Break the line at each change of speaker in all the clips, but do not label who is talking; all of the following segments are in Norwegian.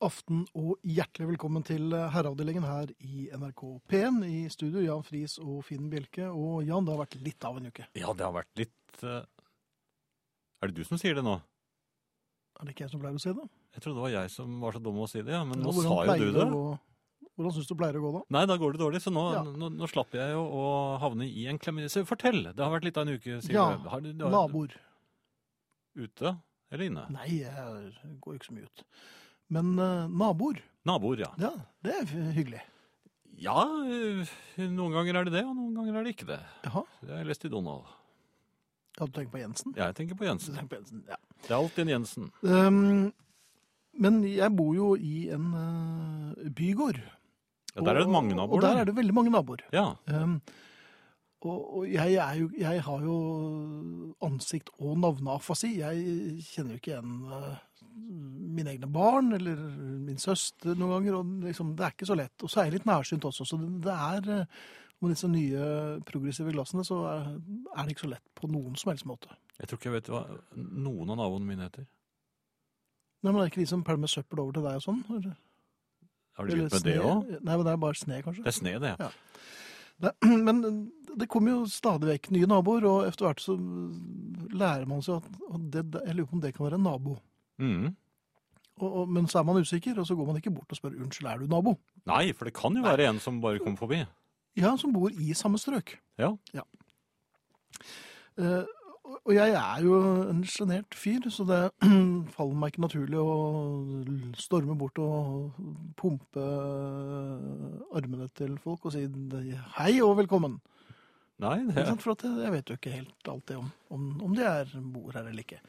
aften og hjertelig velkommen til eh, herreavdelingen her i NRK P1. I studio Jan Friis og Finn Bjelke. Og Jan, det har vært litt av en uke.
Ja, det har vært litt eh, Er det du som sier det nå?
Er det ikke jeg som pleier å si det?
Jeg trodde det var jeg som var så dum å si det, ja, men
Ja,
nå
hvordan
sa jo
pleier
du det.
å- hvordan syns du pleier å gå, da?
Nei, da går det dårlig, så nå,
Ja.
nå, nå slapp jeg jo å havne i en klemme. Så fortell! Det har vært litt av en uke siden.
Ja,
har, du- du har,
Naboer.
Ute eller inne?
Nei, jeg går ikke så mye ut. Men eh, naboer,
Naboer, ja.
ja, det er hyggelig.
Ja, eh, noen ganger er det det, og noen ganger er det ikke det.
Jaha.
Det har jeg lest i Donald.
Ja, du tenker på Jensen?
Jeg tenker på
Du
Jensen.
tenker på Jensen, ja.
Det er alltid en Jensen.
Ehm, men jeg bor jo i en eh, bygård.
Ja, der er det
Og-
mange
Og
naboer.
der er det veldig mange naboer.
Ja,
Ehm, og og jeg, er jo, jeg har jo ansikt- og navneafasi. Jeg kjenner jo ikke igjen eh, mine egne barn eller min søster noen ganger. og liksom, Det er ikke så lett. Og så er jeg litt nærsynt også, så det, det er eh, med disse nye progressive glassene så er, er det ikke så lett på noen som helst måte.
jeg tror ikke jeg vet hva noen av naboene mine heter.
Nei, men Er det ikke de som pælmer søppel over til deg og sånn? Eller,
Har du begynt med det òg?
Nei, men det er bare sne, kanskje.
Det er sne, det.
Ja. Det, men det kommer jo stadig vekk nye naboer, og etter hvert så lærer man seg at og det, Jeg lurer på om det kan være en nabo.
Mm.
Og, og, men så er man usikker, og så går man ikke bort og spør 'unnskyld, er du nabo?'
Nei, for det kan jo være en som bare kom forbi.
Ja, som bor i samme strøk.
Ja.
Eh, og- og jeg er jo en sjenert fyr, så det faller meg ikke naturlig å storme bort og pumpe armene til folk og si 'hei og velkommen'.
Nei, det
Ikke sant? For at jeg, jeg vet jo ikke helt alltid om, om, om de er, bor her eller ikke.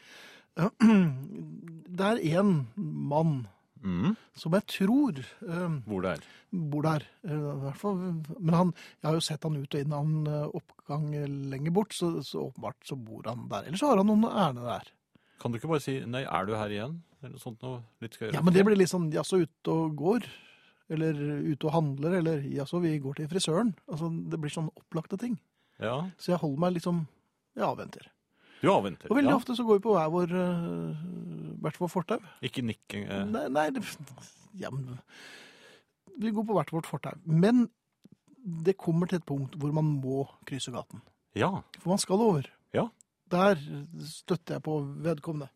Det er én mann
mm.
som jeg tror eh,
Hvor det er.
bor der. eh, i hvert fall. Men han, jeg har jo sett han ut og inn av en eh, oppgang lenger bort, så, så åpenbart så bor han der. Eller så har han noen ærend der.
Kan du ikke bare si 'nei, er du her igjen'? Eller noe sånt noe litt skøyere.
Ja, Men det blir litt sånn jaså, ute og går? Eller ute og handler? Eller jaså, vi går til frisøren? Altså, Det blir sånn opplagte ting.
Ja.
Så jeg holder meg liksom Jeg avventer.
Du avventer.
Og veldig
ja.
ofte så går vi på hver vår øh, hvert vårt fortau.
Ikke nikk. eh.
Nei, nei det, ja, men, Vi går på hvert vårt fortau. Men det kommer til et punkt hvor man må krysse gaten.
Ja.
For man skal over.
Ja.
Der støtter jeg på vedkommende.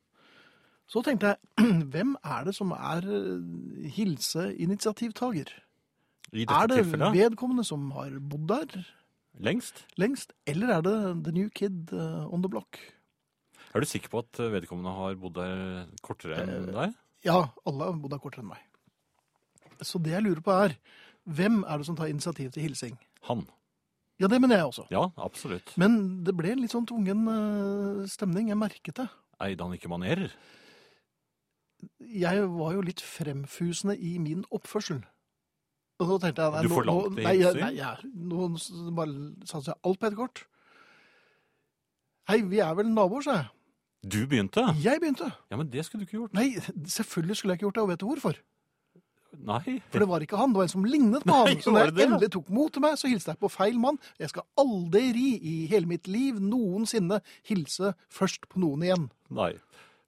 Så tenkte jeg, hvem er det som er øh, hilseinitiativtager?
I dette
Er det
tilfellet.
vedkommende som har bodd der
Lengst.
lengst, eller er det the new kid øh, on the block?
Er du sikker på at vedkommende har bodd der kortere
Eh.
enn deg?
Ja, alle har bodd der kortere enn meg. Så det jeg lurer på er, hvem er det som tar initiativ til hilsing?
Han.
Ja, det mener jeg også.
Ja, absolutt.
Men det ble en litt sånn tvungen eh, stemning, jeg merket det.
Eide han ikke manerer?
Jeg var jo litt fremfusende i min oppførsel. Og så tenkte jeg, nei,
Du
nå- nå-
forlangte
nei, jeg-
hilsing?
Nei, jeg, nå s- bare satser jeg alt på et kort. Hei, vi er vel naboer, sa jeg.
Du begynte?
Jeg begynte.
Ja, men det skulle du ikke gjort.
Nei, selvfølgelig skulle jeg ikke gjort det, og vet du hvorfor?
Nei.
For det var ikke han, det var en som lignet på
Nei,
han. Så når
var det det?
jeg endelig tok mot til meg, så hilste jeg på feil mann. Jeg skal aldri i hele mitt liv noensinne hilse først på noen igjen.
Nei.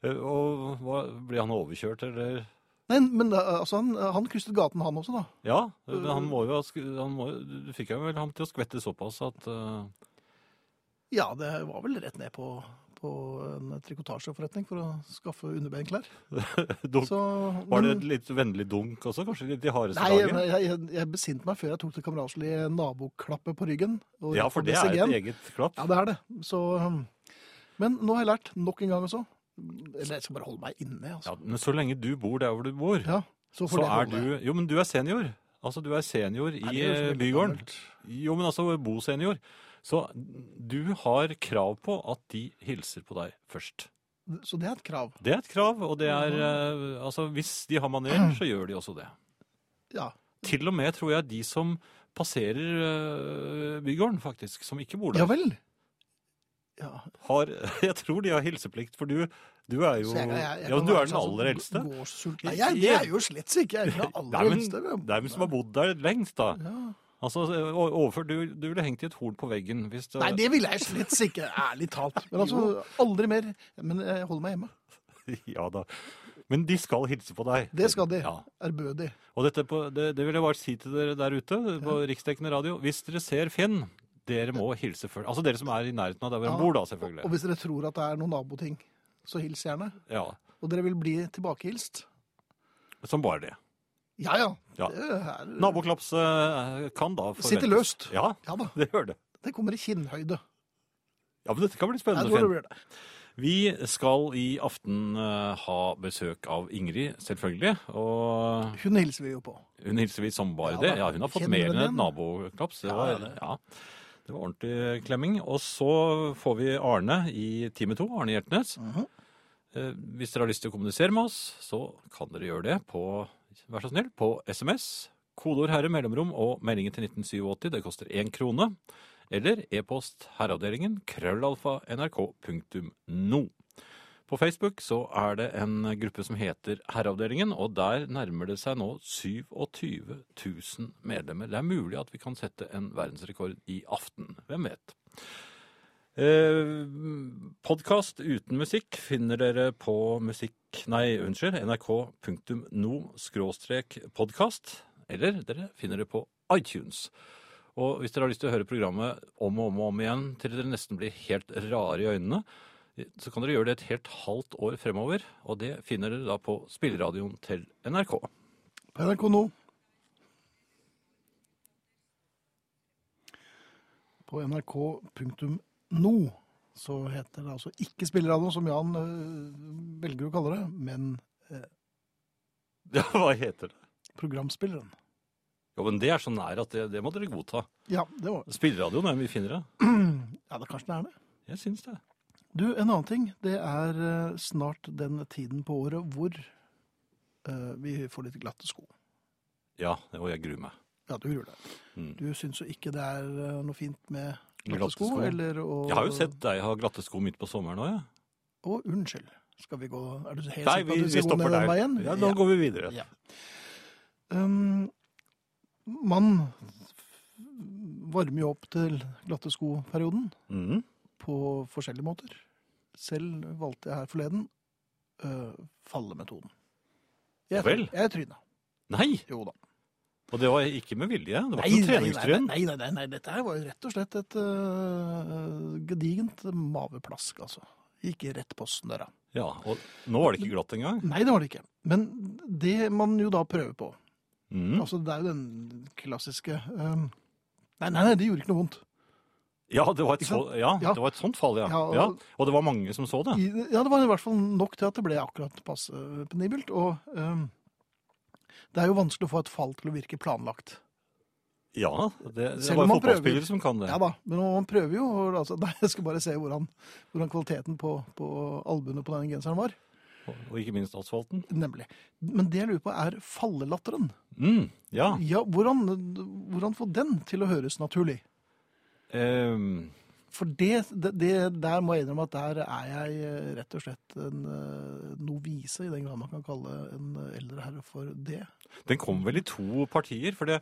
Eh, Og hva, ble han overkjørt, eller?
Nei, men eh, altså, han, han krysset gaten han også, da.
Ja, men han må jo ha sk- han må, jo- Du fikk jo vel ham til å skvette såpass at eh,
Ja, det var vel rett ned på, på en trikotasjeforretning for å skaffe underbenklær.
dunk-
Så, Mm.
Var det
men-
et litt vennlig dunk også, kanskje? litt De hardeste
Nei, jeg,
dager?
jeg, jeg besinte meg før jeg tok det kameratslige naboklappet på ryggen. og
Ja, for det er
igjen.
et eget klapp.
Ja, det er det. Så, um, men nå har jeg lært nok en gang også. Eller jeg skal bare holde meg inne.
Ja,
Altså.
men så lenge du bor der hvor du bor,
Ja, så får
så
det
er
holde.
du Jo, men du er senior. Altså, du er senior i
Nei, det er jo så
eh,
veldig
bygården.
gammelt.
Jo, men altså bosenior. Så du har krav på at de hilser på deg først.
Så det er et krav.
Det er et krav, og det er eh, Altså, hvis de har maner, så gjør de også det.
Ja.
Til og med tror jeg de som passerer eh, bygården, faktisk, som ikke bor der,
ja vel. Ja.
har Jeg tror de har hilseplikt, for du, du er jo
Så jeg- jeg- jeg
Ja,
kan
du
være
er
sånn
den
som
aller eldste.
går sulten. Nei, jeg, det er jo slett ikke. Jeg er ikke den
Det er
aller
men-
eldste. men-
Det er hvem som har bodd der lengst, da.
Ja.
Altså, o- overfor, du, du ville hengt i et horn på veggen hvis det
Nei, det ville jeg slett eh, ikke. Ærlig talt. Men altså, aldri mer. Men jeg holder meg hjemme.
Ja da. Men de skal hilse på deg.
Det skal de.
Ja.
Ærbødig.
Og dette på, det, det vil jeg bare si til dere der ute på riksdekkende radio. Hvis dere ser Finn, dere må hilse før. Altså dere som er i nærheten av der hvor han
Ja.
bor, da,
Og
selvfølgelig.
hvis dere tror at det er noen naboting, så hils gjerne.
Ja,
Og dere vil bli tilbakehilst.
Som bare det.
Ja, ja.
Ja.
Det er,
Naboklaps eh, kan da forventes.
Sitter løst.
Ja,
Ja da.
det gjør det.
Det kommer i kinnhøyde.
Ja, men dette kan bli
Jeg
spennende,
tror det
Finn.
blir det.
Vi skal i aften eh, ha besøk av Ingrid, selvfølgelig. Og
Hun hilser vi jo på.
Hun hilser vi som bare
Ja,
det.
da.
Ja, hun har fått
Kjenner
mer
den
enn et
igjen?
naboklaps. Det
Ja,
var,
ja, det.
ja, det var ordentlig eh, klemming. Og så får vi Arne i time to, Arne Hjertnes.
Mhm.
Eh, Hvis dere har lyst til å kommunisere med oss, så kan dere gjøre det på, vær så snill, på SMS. Kodeord herre, mellomrom og meldingen til 1987. Det koster én krone. Eller e-post herreavdelingen krøllalfa nrk.no. På Facebook så er det en gruppe som heter Herreavdelingen, og der nærmer det seg nå 27 000 medlemmer. Det er mulig at vi kan sette en verdensrekord i aften. Hvem vet? Eh, Podkast uten musikk finner dere på musikk... Nei, unnskyld. nrk.no-podkast. Eller dere finner det på iTunes. Og hvis dere har lyst til å høre programmet om og om og om igjen til dere nesten blir helt rare i øynene, så kan dere gjøre det et helt halvt år fremover. Og det finner dere da på spilleradioen til NRK.
På NRK nå. På nrk.no så heter det altså ikke spilleradio, som Jan øh, velger å kalle det, men
Ja, hva heter det?
programspilleren.
Jo, men det er så nær at det, det må dere godta.
Ja, det var
Spilleradioen er mye finere.
Ja, da kanskje det er det.
Jeg syns det.
Du, en annen ting. Det er eh, snart den tiden på året hvor eh, vi får litt glatte sko.
Ja, og jeg gruer meg.
Ja, du gjør det.
Mm.
Du syns jo ikke det er eh, noe fint med glatte,
Glatte
sko?
sko.
Eller å
Jeg har jo sett deg ha glatte sko midt på sommeren òg, jeg.
Å, unnskyld. Skal vi gå Er du helt
Nei,
sikker på
vi,
at du skal
vi
gå
stopper
ned den
der.
veien?
Ja, nå går vi videre.
Ja. Um, man varmer jo opp til glatte sko-perioden.
Mhm.
på forskjellige måter. Selv valgte jeg her forleden øh, fallemetoden. Jeg,
Vel.
jeg tryna.
Nei!
Jo da.
Og det var ikke med vilje. Det var ikke noe
nei, nei,
treningstryn.
nei, nei, nei, nei, dette her var jo rett og slett et øh, gedigent maveplask, altså. Gikk rett på snørra.
Ja, og nå var det ikke glatt engang.
Nei, det var det ikke. Men det man jo da prøver på
Mhm.
altså Det er jo den klassiske øh, Nei, nei, nei, det gjorde ikke noe vondt.
Ja, det var et,
Ikke
så,
sant?
ja,
Ja.
det var et sånt fall, ja.
Ja, og-
ja. Og det var mange som så det.
I, ja, det var i hvert fall nok til at det ble akkurat passe penibelt. Og øhm, det er jo vanskelig å få et fall til å virke planlagt.
Ja, det, det
Selv
var
om
jo
man prøver.
fotballspillere som kan det.
Ja da, men man prøver jo. og Altså, nei, jeg skal bare se hvordan, hvordan kvaliteten på, på albuene på den genseren var.
Og ikke minst asfalten.
Nemlig. Men det jeg lurer på, er fallelatteren.
Mm, ja.
Ja, hvordan, hvordan få den til å høres naturlig?
Ehm,
For det, det, det der må jeg innrømme at der er jeg eh, rett og slett en eh, novise, i den grad man kan kalle en eh, eldre herre for det.
den kom vel i to partier, for det,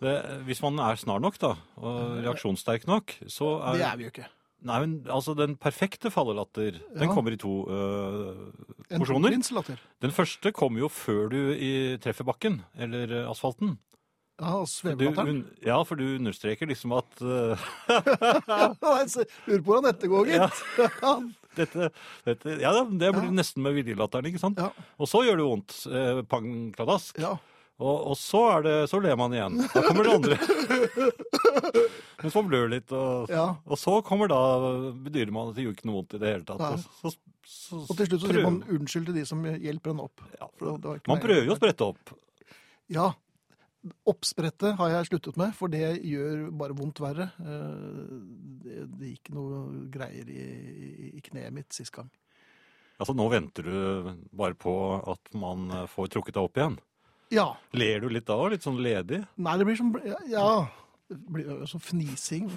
det, hvis man er snar nok da, og reaksjonssterk nok, så er,
Det er vi jo ikke.
Nei, men altså den perfekte fallelatter, den
Ja.
kommer i to øh,
En
porsjoner.
prinslatter.
Den første kommer jo før du i, treffer bakken, eller øh, asfalten.
Ja, og
Du,
svevelatteren.
un, ja, for du understreker liksom at øh,
Nei, se, Lurer på hvordan dette går, gitt. Ja.
dette, dette Ja, det blir
Ja.
nesten med viljelatteren, ikke sant?
ja,
Og så gjør det vondt. Eh, pang, kladask.
ja.
Og, og så, er det, så ler man igjen. Da kommer det andre. Mens man blør litt. Og,
ja.
og så kommer da bedyrer man at det gjorde ikke noe vondt i det hele tatt.
Nei.
Og, så, så,
Og til slutt så
prøver
sier man unnskyld til de som hjelper en opp.
ja.
For det var ikke
Man
meg.
prøver jo å sprette opp.
Ja. Oppsprettet har jeg sluttet med, for det gjør bare vondt verre. Eh, Det, det gikk noe greier i, i- i kneet mitt sist gang.
Altså, nå venter du bare på at man eh, får trukket deg opp igjen.
Ja.
Ler du litt da? Litt sånn ledig?
Nei, det blir som Ja. Det blir jo som fnising.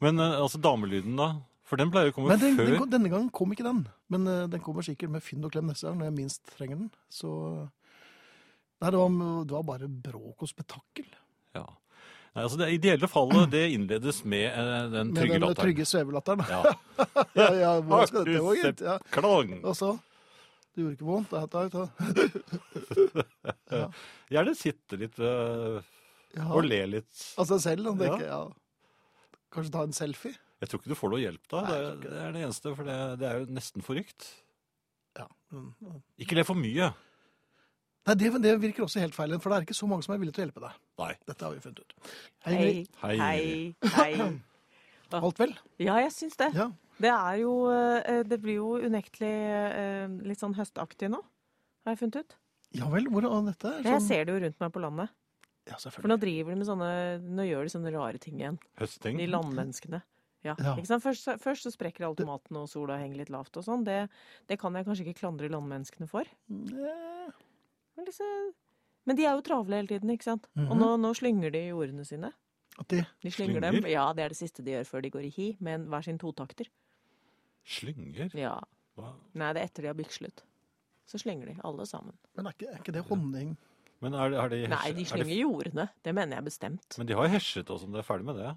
Men eh, altså, damelyden, da? For den pleier å komme
Men den,
før.
den, denne gangen kom ikke den. Men eh, den kommer sikkert med fynd og klem neste gang, når jeg minst trenger den. Så Nei, det var, det var bare bråk og spetakkel.
Ja. Nei, altså, det ideelle fallet det innledes med eh, den
Med
trygge
den
latteren.
trygge svevelatteren.
Ja.
Ja, ja, hvordan skal dette gå, gitt? Ja.
Klang!
Og så Det gjorde ikke vondt. Det er- det er-
Gjerne sitte litt øh,
Ja.
og le litt.
Av seg selv, han
Ja.
tenker. Ja. Kanskje ta en selfie?
Jeg tror ikke du får noe hjelp da.
Nei,
Det,
jeg tror ikke
det er det eneste, for det, det er jo nesten forrykt.
Ja. men-
Ikke le for mye.
Nei, det, det virker også helt feil, for det er ikke så mange som er villige til å hjelpe deg.
Nei.
Dette har vi funnet ut. Hei,
Hei.
Ingrid.
Hei.
Hei. Hei.
Alt vel?
Ja, jeg syns det.
Ja.
Det er jo eh, Det blir jo unektelig eh, litt sånn høstaktig nå, har jeg funnet ut.
Ja vel, hvordan dette? er
Jeg
sånn-
ser det jo rundt meg på landet.
Ja,
For
selvfølgelig.
nå driver de med sånne Nå gjør de sånne rare ting igjen.
Høsting.
De landmenneskene. Ja,
Mm. Ja.
Ikke sant? Først, først så sprekker alle tomatene, og sola henger litt lavt og sånn. Det, det kan jeg kanskje ikke klandre landmenneskene for.
Nei.
Men, disse, men de er jo travle hele tiden, ikke sant? Og nå,
Mhm.
nå slynger de jordene sine.
At det,
De slynger,
Slynger?
dem. Ja, det er det siste de gjør før de går i hi, med en- hver sin totakter.
Slynger.
Ja.
Hva?
Nei, det er etter de har bykslet. Så slynger de, alle sammen.
men er ikke, er ikke det honning?
Men er, det- har de
Nei,
hesje-
de
er
slynger jordene. Det mener jeg bestemt.
Men de har hesjet også, om de er ferdig med det.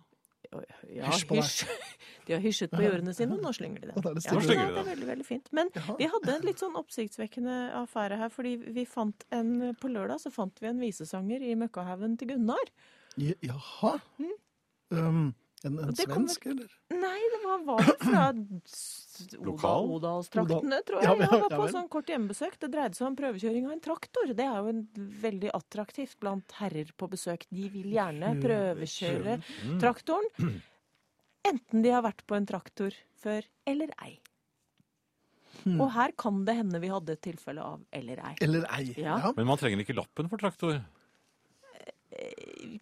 Ja,
Hysj på deg.
hysj. De har hysjet på jordene sine, og nå slynger de dem.
Ja, da er det
Ja,
stille.
Nå slynger de
det er
dem.
veldig, veldig fint. Men
Jaha.
vi hadde en litt sånn oppsiktsvekkende affære her, fordi vi fant en På lørdag så fant vi en visesanger i Møkkahaugen til Gunnar.
Ja- Jaha. Um, en en
Mm. Og det kommer-
svensk, eller?
Nei, det var, var det fra s- Oda-
Lokal?
Odalstraktene, tror
Ja, vel,
jeg. Jeg var
ja
på
vel.
sånn kort hjemmebesøk. Det dreide seg om prøvekjøring av en traktor. Det er jo en veldig attraktivt blant herrer på besøk. De vil gjerne prøvekjøre
Mm.
traktoren. Enten de har vært på en traktor før eller ei.
Hmm.
Og her kan det hende vi hadde et tilfelle av eller ei.
Eller ei.
Ja.
Men man trenger ikke lappen for traktor.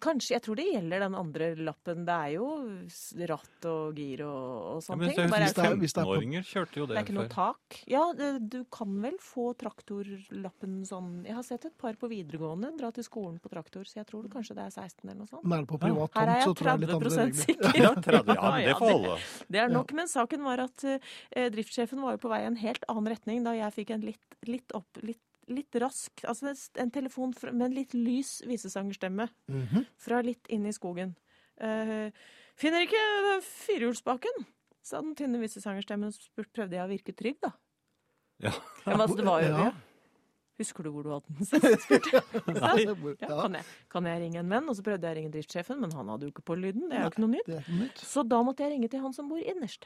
Kanskje, Jeg tror det gjelder den andre lappen. Det er jo s- ratt og gir og, og
Ja,
sånne
men
ting. Bare,
hvis det er- hvis det er på-
15-åringer kjørte jo det,
det er ikke noe
før.
tak. Ja, det- du kan vel få traktorlappen sånn Jeg har sett et par på videregående dra til skolen på traktor, så jeg tror det kanskje det er 16 eller noe sånt.
Men er det på privat
Her
tomt, så
er jeg
tror jeg det er litt
30
andre regler.
sikker.
Ja, 30, ja, men
Ja,
det
ja,
får
det-
holde.
Det er nok, men saken var at eh, driftssjefen var jo på vei i en helt annen retning da jeg fikk en litt, litt opp, litt, litt rask, altså en s- en telefon fra, med en litt lys visesangerstemme
Mhm.
fra litt inn i skogen. Eh, finner ikke den firehjulsbaken, sa den tynne visesangerstemmen. Spurt, prøvde jeg å virke trygg, da.
Ja.
Ja, men altså, det var jo
Ja.
det. Husker du hvor du hadde den sist? Spurte jeg.
Ja,
Så,
det bor-
Ja,
ja,
kan, jeg, kan jeg ringe en venn? Og så prøvde jeg å ringe driftssjefen, men han hadde jo ikke på lyden. Det er jo ikke noe nytt.
Det er ikke nytt.
Så da måtte jeg ringe til han som bor innerst.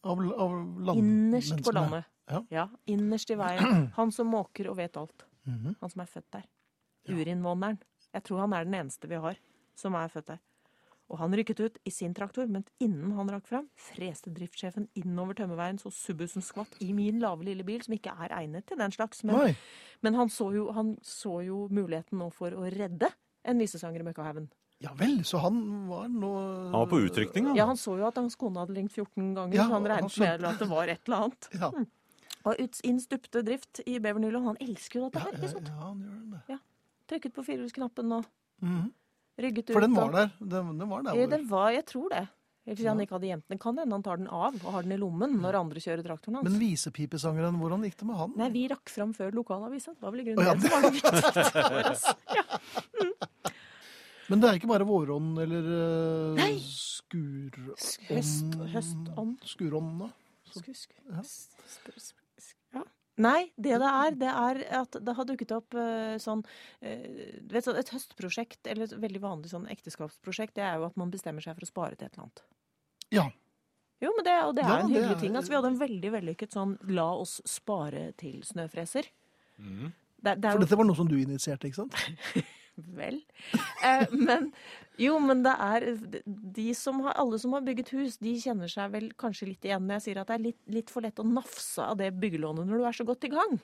Av, av land,
Innerst på
menneskene.
landet.
Ja.
Innerst i veien. Han som måker og vet alt.
Mhm.
Han som er født der.
Ja.
Urinnvåneren. Jeg tror han er den eneste vi har som er født der. Og han rykket ut i sin traktor, men innen han rakk fram, freste driftssjefen innover tømmerveien så subbusen skvatt i min lave lille bil, som ikke er egnet til den slags. Men,
Nei.
men han, så jo, han så jo muligheten nå for å redde en visesanger i Møkkahaugen.
Ja vel, så han var nå
Han var på utrykning,
Ja,
han.
han så jo at hans kone hadde ringt 14 ganger,
Ja,
så han
han
regnet
skjønte-
med at det var et eller annet.
Ja,
Og ut, inn stupte drift i Bevernyland. Han elsker jo dette
ja,
her.
ja,
ikke sant?
ja han gjør det.
Trykket på firehjulsknappen og
Mhm.
rygget ut.
For den
og-
var der. Den, den var der.
Ja,
hvor-
Eh, den var, jeg tror det. Hvis
Ja.
han ikke hadde gjemt den. Kan hende han tar den av og har den i lommen når andre kjører traktoren hans.
Men visepipesangeren, hvordan gikk det med han?
Nei, vi rakk fram før lokalavisa. Det var vel i
Å, ja.
grunnen det som var det viktigste for oss. Ja.
Men det er ikke bare vårånd eller uh,
Nei.
skurånd
Høst, høstånd.
Skurånd, da.
Skusk.
Ja.
S- sp- sp- sk- Ja. Nei, det det er, det er at det har dukket opp eh, sånn eh, du vet, sånn Et høstprosjekt, eller et veldig vanlig sånn ekteskapsprosjekt, det er jo at man bestemmer seg for å spare til et eller annet.
Ja.
Jo, men det, og det er
Ja,
en
det
hyggelig
er-
ting. Altså, vi hadde en veldig vellykket sånn 'la oss spare til snøfreser'.
Mm.
Det, det
For
er jo
dette var noe som du initierte, ikke sant?
Vel. Eh, men jo, men det er de som har, Alle som har bygget hus, de kjenner seg vel kanskje litt igjen når jeg sier at det er litt, litt for lett å nafse av det byggelånet når du er så godt i gang.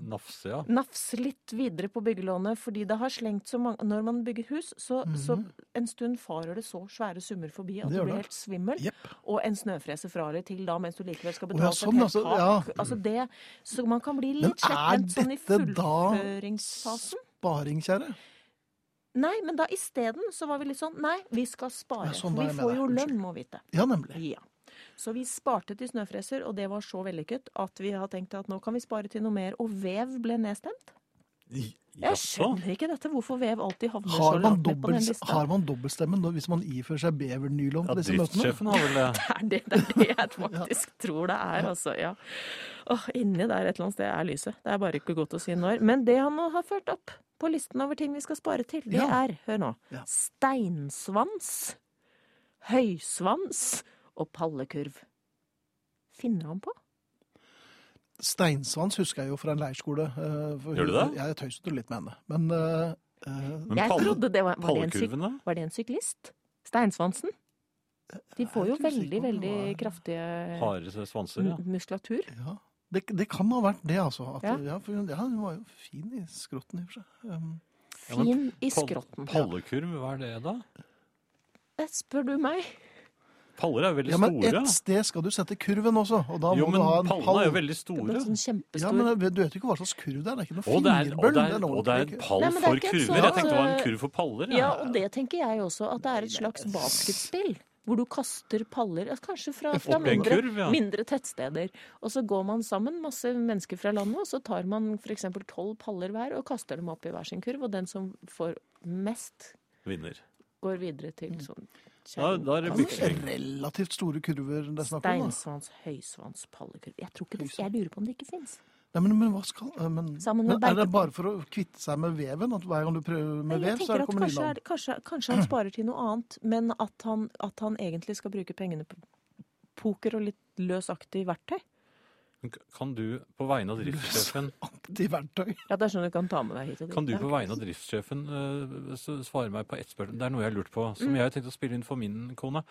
Nafse, ja.
Nafse litt videre på byggelånet, fordi det har slengt så mange Når man bygger hus, så, så en stund farer det så svære summer forbi at
Mhm. Det gjør
du blir
det.
helt svimmel.
Jepp.
Og en snøfreser frarer til da, mens du likevel skal
ja,
betale
sånn,
for et
altså,
helt tak.
ja.
Altså det, så man kan bli
Men
litt
er
slepphendt sånn i
dette da
fullføringsfasen.
sparing, kjære?
Nei, men da isteden så var vi litt sånn Nei, vi skal spare.
Ja, sånn
for
er jeg
vi
med
får
deg.
jo
Unnskyld.
lønn, må vite.
Ja, nemlig.
Ja. Så vi sparte til snøfreser, og det var så vellykket at vi har tenkt at nå kan vi spare til noe mer. Og vev ble nedstemt. Jeg skjønner ikke dette. Hvorfor vev alltid havner så
Har man,
langt ned på den
dobbelt,
lista?
har man dobbeltstemme når- hvis man ifører seg bevernylon
Ja,
på disse møtene?
driftssjefen har vel det.
Det er det, det, er det jeg faktisk tror det er, altså. Ja. Åh, inni der et eller annet sted er lyset. Det er bare ikke godt å si når. Men det han nå har ført opp på listen over ting vi skal spare til, det
Ja.
er, hør nå,
Ja.
steinsvans, høysvans og pallekurv. Finner han på?
Steinsvans husker jeg jo fra en leirskole. eh, for
Gjør du
hun-
det?
Jeg tøyset jo litt med henne. Men eh, eh,
Men
jeg
palle-
trodde det var, var det, en syk,
Pallekurvene?
var det en syklist? Steinsvansen? De får jo
Eh, Jeg er ikke sikker
veldig,
på om det
veldig
var-
kraftige
Hardere svanser, ja.
mu- muskulatur.
ja. Det, det kan ha vært det, altså. At, ja.
Ja.
for hun, ja, hun var jo fin i skrotten, i og for seg. Um,
Ja, men
Fin i
Pall-
skrotten.
Pallekurv, hva er det da?
Eh, Spør du meg?
Paller er jo veldig
ja, men
store.
ett sted skal du sette kurven også, og da
Jo,
må
men
du ha en
pallene er jo
pall.
veldig
Det er
store.
en sånn
Ja,
kjempestor
men jeg vet- du vet jo ikke hva slags kurv det er. Det er ikke noe
Og det er, og
fingerbøll.
det er,
det er
og det
ordentlig
er en
kurv.
pall
Nei, men det er
for
ikke et
kurver.
sånt,
Jeg tenkte det var en
eh,
kurv for paller.
Ja,
jeg.
og det tenker jeg også, at det er et slags basketspill. Hvor du kaster paller, ja, kanskje fra, fra
Opp i en
mindre,
kurv, ja.
mindre tettsteder. Og så går man sammen, masse mennesker fra landet, og så tar man f.eks. tolv paller hver og kaster dem opp i hver sin kurv. Og den som får mest,
Vinner.
går videre til sånn
Da- Mm. da er det
kjerringkast.
byksling.
Relativt store kurver det er snakk om. Da.
Steinsvans, høysvans, pallekurv. Jeg tror ikke det, jeg lurer på om det ikke fins.
Nei, men, men hva skal eh, men,
Sammen med
men Er det
beitepalle.
bare for å kvitte seg med veven? At hver gang du prøver med
Nei,
vev,
jeg
så er
tenker
det
at
kommer
kanskje,
nyland?
er, kanskje, kanskje han sparer til noe annet, men at han, at han egentlig skal bruke pengene på poker og litt løsaktig verktøy.
Kan du på vegne av driftssjefen
Antiverktøy.
Ja, det er sånn du kan ta med deg hit og dit.
Kan du
Ja.
på vegne av driftssjefen eh, s- svare meg på ett spørsmål? Det er noe jeg har lurt på,
Mm.
som jeg tenkte å spille inn for min kone.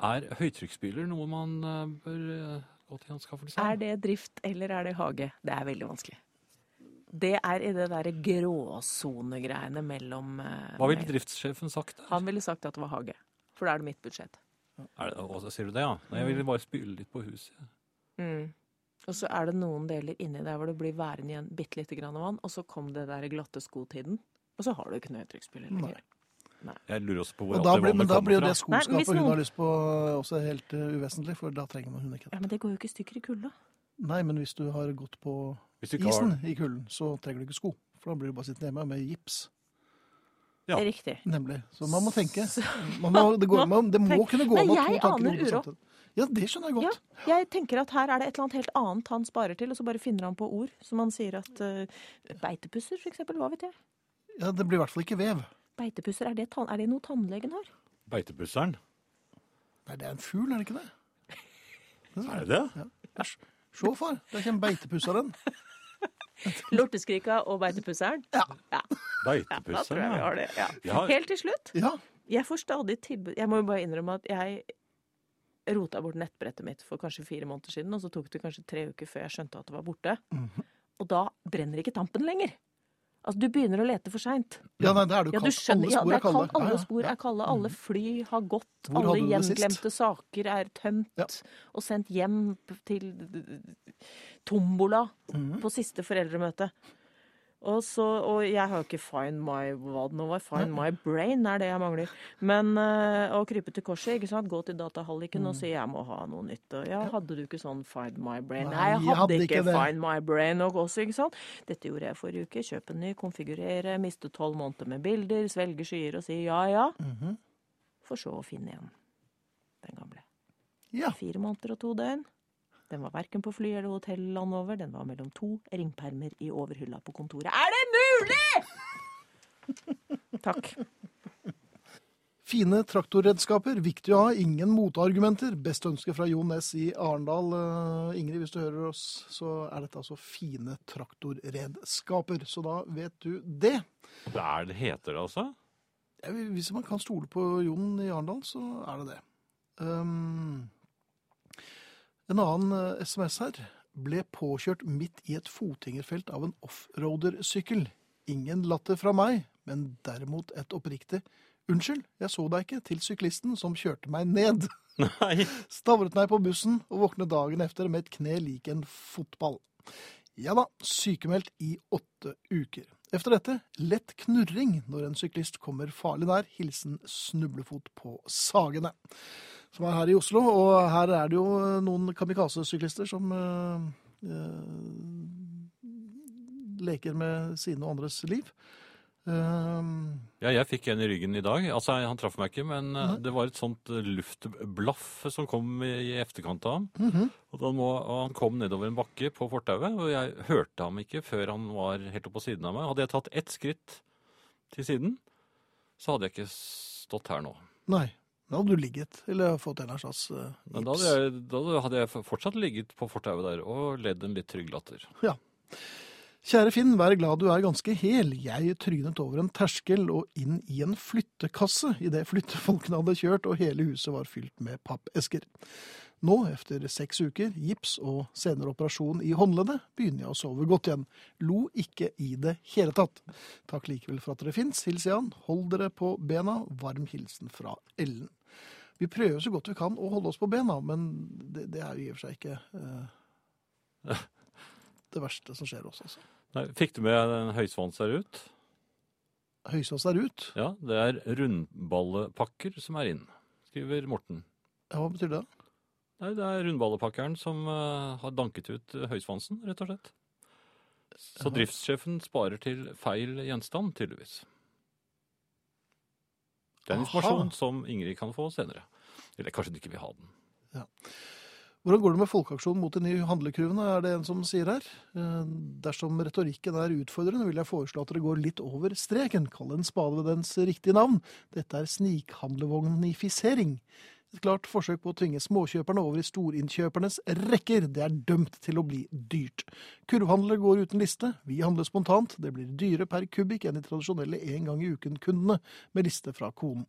Er høytrykksspyler noe man eh, bør eh, gå til anskaffelse
Er
av?
det drift eller er det hage? Det er veldig vanskelig. Det er i det derre gråsonegreiene mellom eh,
Hva ville
meg.
driftssjefen sagt? der?
Han ville sagt at det var hage, for da er det mitt budsjett.
Er det, å, sier du det, ja? Nei, jeg ville bare spyle litt på huset.
Mm. Og så er det noen deler inni der hvor det blir værende igjen bitte lite grann vann, og så kom det der glatte skotiden, og så har du ikke noe høytrykksspiller
Nei.
lenger.
Jeg lurer også på
Og
hvor alt
da
det
blir, men
vannet
da blir jo
kommer
det
fra.
skoskapet
Nei, hvis
hun
noen-
har lyst på, eh, også helt eh, uvesentlig, for da trenger man hun ikke det.
Ja, Men det går jo ikke i stykker i kulda.
Nei, men hvis du har gått på
Hvis du ikke har-
isen i kulden, så trenger du ikke sko. For da blir du bare sittende hjemme med gips.
Ja.
Riktig.
Nemlig. Så man må tenke. Man må, det, går, man, det må
Tenk-
kunne gå an å
Men
ha to
jeg
tanker
aner
i hodet
uro.
samtidig. Ja, det skjønner jeg
Ja,
godt.
jeg tenker at her er det et eller annet helt annet han sparer til, og så bare finner han på ord. Som han sier at eh, beitepusser, for eksempel. Hva vet jeg.
Ja, det blir i hvert fall ikke vev.
Beitepusser, er det, tann, er det noe tannlegen har?
Beitepusseren?
Nei, det er en fugl, er det ikke det?
Er det det?
Se, far. Der kommer beitepusseren.
Lorteskrika og beitepusseren?
Ja.
Da tror jeg
Beitepusseren,
vi
ja.
har det. Ja.
Ja.
Helt til slutt.
Ja.
Jeg får stadig tilbud Jeg må jo bare innrømme at jeg rota bort nettbrettet mitt for kanskje fire måneder siden, og så tok det kanskje tre uker før jeg skjønte at det var borte. Og da brenner ikke tampen lenger. Altså, du begynner å lete for seint.
ja, nei, det er det jo
Ja, du
kaldt. Alle
skjønner, ja,
spor
det
er
er kaldt.
kalde.
Alle
Ja,
spor
ja.
er kalde, alle fly har gått,
Hvor
alle
hadde du det sist?
gjenglemte saker er tømt
Ja.
og sendt hjem p- til eh, tombola på siste foreldremøte. Og, så, og jeg har jo ikke find my hva det nå var, find my brain er det jeg mangler. Men eh, å krype til korset, ikke sant? gå til datahalliken og si jeg må ha noe nytt. Og, Mm. ja, hadde du ikke sånn find my brain? Nei, jeg hadde, ikke,
det.
find my brain og også, ikke sant? Dette gjorde jeg forrige uke. Kjøpe en ny, konfigurere, miste tolv måneder med bilder, svelge skyer og si ja, ja. For så å finne igjen den gamle.
Ja.
Fire måneder og to døgn. Den var verken på fly eller hotell landet over. Den var mellom to ringpermer i overhylla på kontoret. Er det mulig?! Takk.
Fine traktorredskaper, viktig å ha, ingen motargumenter. Best ønske fra Jon S. i Arendal. Eh, Ingrid, hvis du hører oss, så er dette altså fine traktorredskaper. Så da vet du det.
Det er, det heter det altså?
Ja, Hvis man kan stole på Jon i Arendal, så er det det. Ehm, en annen eh, SMS her. Ble påkjørt midt i et fotgjengerfelt av en offroader-sykkel. Ingen latter fra meg, men derimot et oppriktig 'unnskyld, jeg så deg ikke' til syklisten som kjørte meg ned.
Nei.
Stavret meg på bussen og våknet dagen efter med et kne lik en fotball. Ja da, sykemeldt i åtte uker. Efter dette, lett knurring når en syklist kommer farlig nær. Hilsen snublefot på Sagene. Som er her i Oslo, og her er det jo noen kamikaze-syklister som eh, eh, leker med sine og andres liv. Ehm,
Ja, jeg fikk en i ryggen i dag. Altså, Han traff meg ikke, men eh,
Nei.
Mhm.
det var et sånt eh, luftblaff som kom i i efterkant av ham.
mhm.
Og, da må, og han kom nedover en bakke på fortauet, og jeg hørte ham ikke før han var helt opp på siden av meg. Hadde jeg tatt ett skritt til siden, så hadde jeg ikke stått her nå.
Nei. Da hadde du ligget, eller fått en eller annen slags eh,
Men da
gips.
hadde, jeg, da hadde jeg fortsatt ligget på fortauet der og ledd en litt trygg latter.
Kjære Finn, vær glad du er ganske hel. Jeg trynet over en terskel og inn i en flyttekasse idet flyttefolkene hadde kjørt og hele huset var fylt med pappesker. Nå, etter seks uker, gips og senere operasjon i håndleddet, begynner jeg å sove godt igjen. Lo ikke i det hele tatt. Takk likevel for at dere fins, hilser Jan. Hold dere på bena. Varm hilsen fra Ellen. Vi prøver så godt vi kan å holde oss på bena, men det, det er jo i og for seg ikke eh, det verste som skjer oss, altså.
Nei, fikk du med den høysvans der ut?
Høysås er ut.
Ja, det er rundballepakker som er inn, skriver Morten.
Ja, hva betyr det?
Nei, det er rundballepakkeren som eh, har danket ut eh, høysvansen, rett og slett. Så
Jaha.
driftssjefen sparer til feil gjenstand, tydeligvis. Det er
Aha.
en informasjon som Ingrid kan få senere. Eller kanskje hun ikke vil ha den.
Hvordan går det med folkeaksjonen mot de nye handlekurvene, er det en som sier her. Eh, Dersom retorikken er utfordrende, vil jeg foreslå at dere går litt over streken. Kall en spade ved dens riktige navn. Dette er snikhandlevognifisering. Et klart forsøk på å tvinge småkjøperne over i storinnkjøpernes rekker. Det er dømt til å bli dyrt. Kurvhandlere går uten liste. Vi handler spontant. Det blir dyre per kubikk enn de tradisjonelle en gang i uken-kundene med liste fra konen.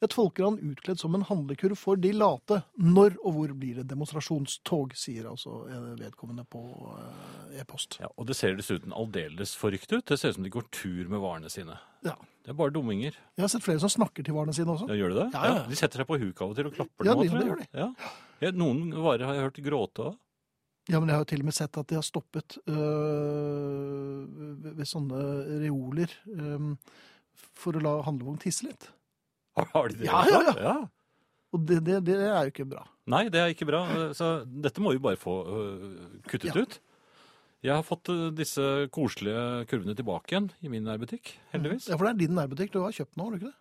Et folkeran utkledd som en handlekurv for de late. Når og hvor blir det demonstrasjonstog, sier altså eh, vedkommende på eh, e-post.
Ja, og det ser dessuten aldeles forrykt ut. Det ser ut som de går tur med varene sine.
Ja.
Det er bare dumminger.
Jeg har sett flere som snakker til varene sine også.
Ja, gjør de det?
Ja, ja, ja.
De setter seg på huk av og til og klapper
Ja,
dem
det-
også,
det
tror jeg. Ja. Ja, Noen varer har jeg hørt gråte av.
Ja, men jeg har jo til og med sett at de har stoppet øh, ved, ved sånne reoler øhm, for å la handlevogn tisse litt.
Har de det?
Ja,
også?
ja, Og det, det, det er jo ikke bra.
Nei, det er ikke bra. Så dette må vi bare få øh, kuttet
Ja.
ut. Jeg har fått øh, disse koselige kurvene tilbake igjen i min nærbutikk, heldigvis.
Mhm. Ja, For det er din nærbutikk du har kjøpt nå, har du ikke det?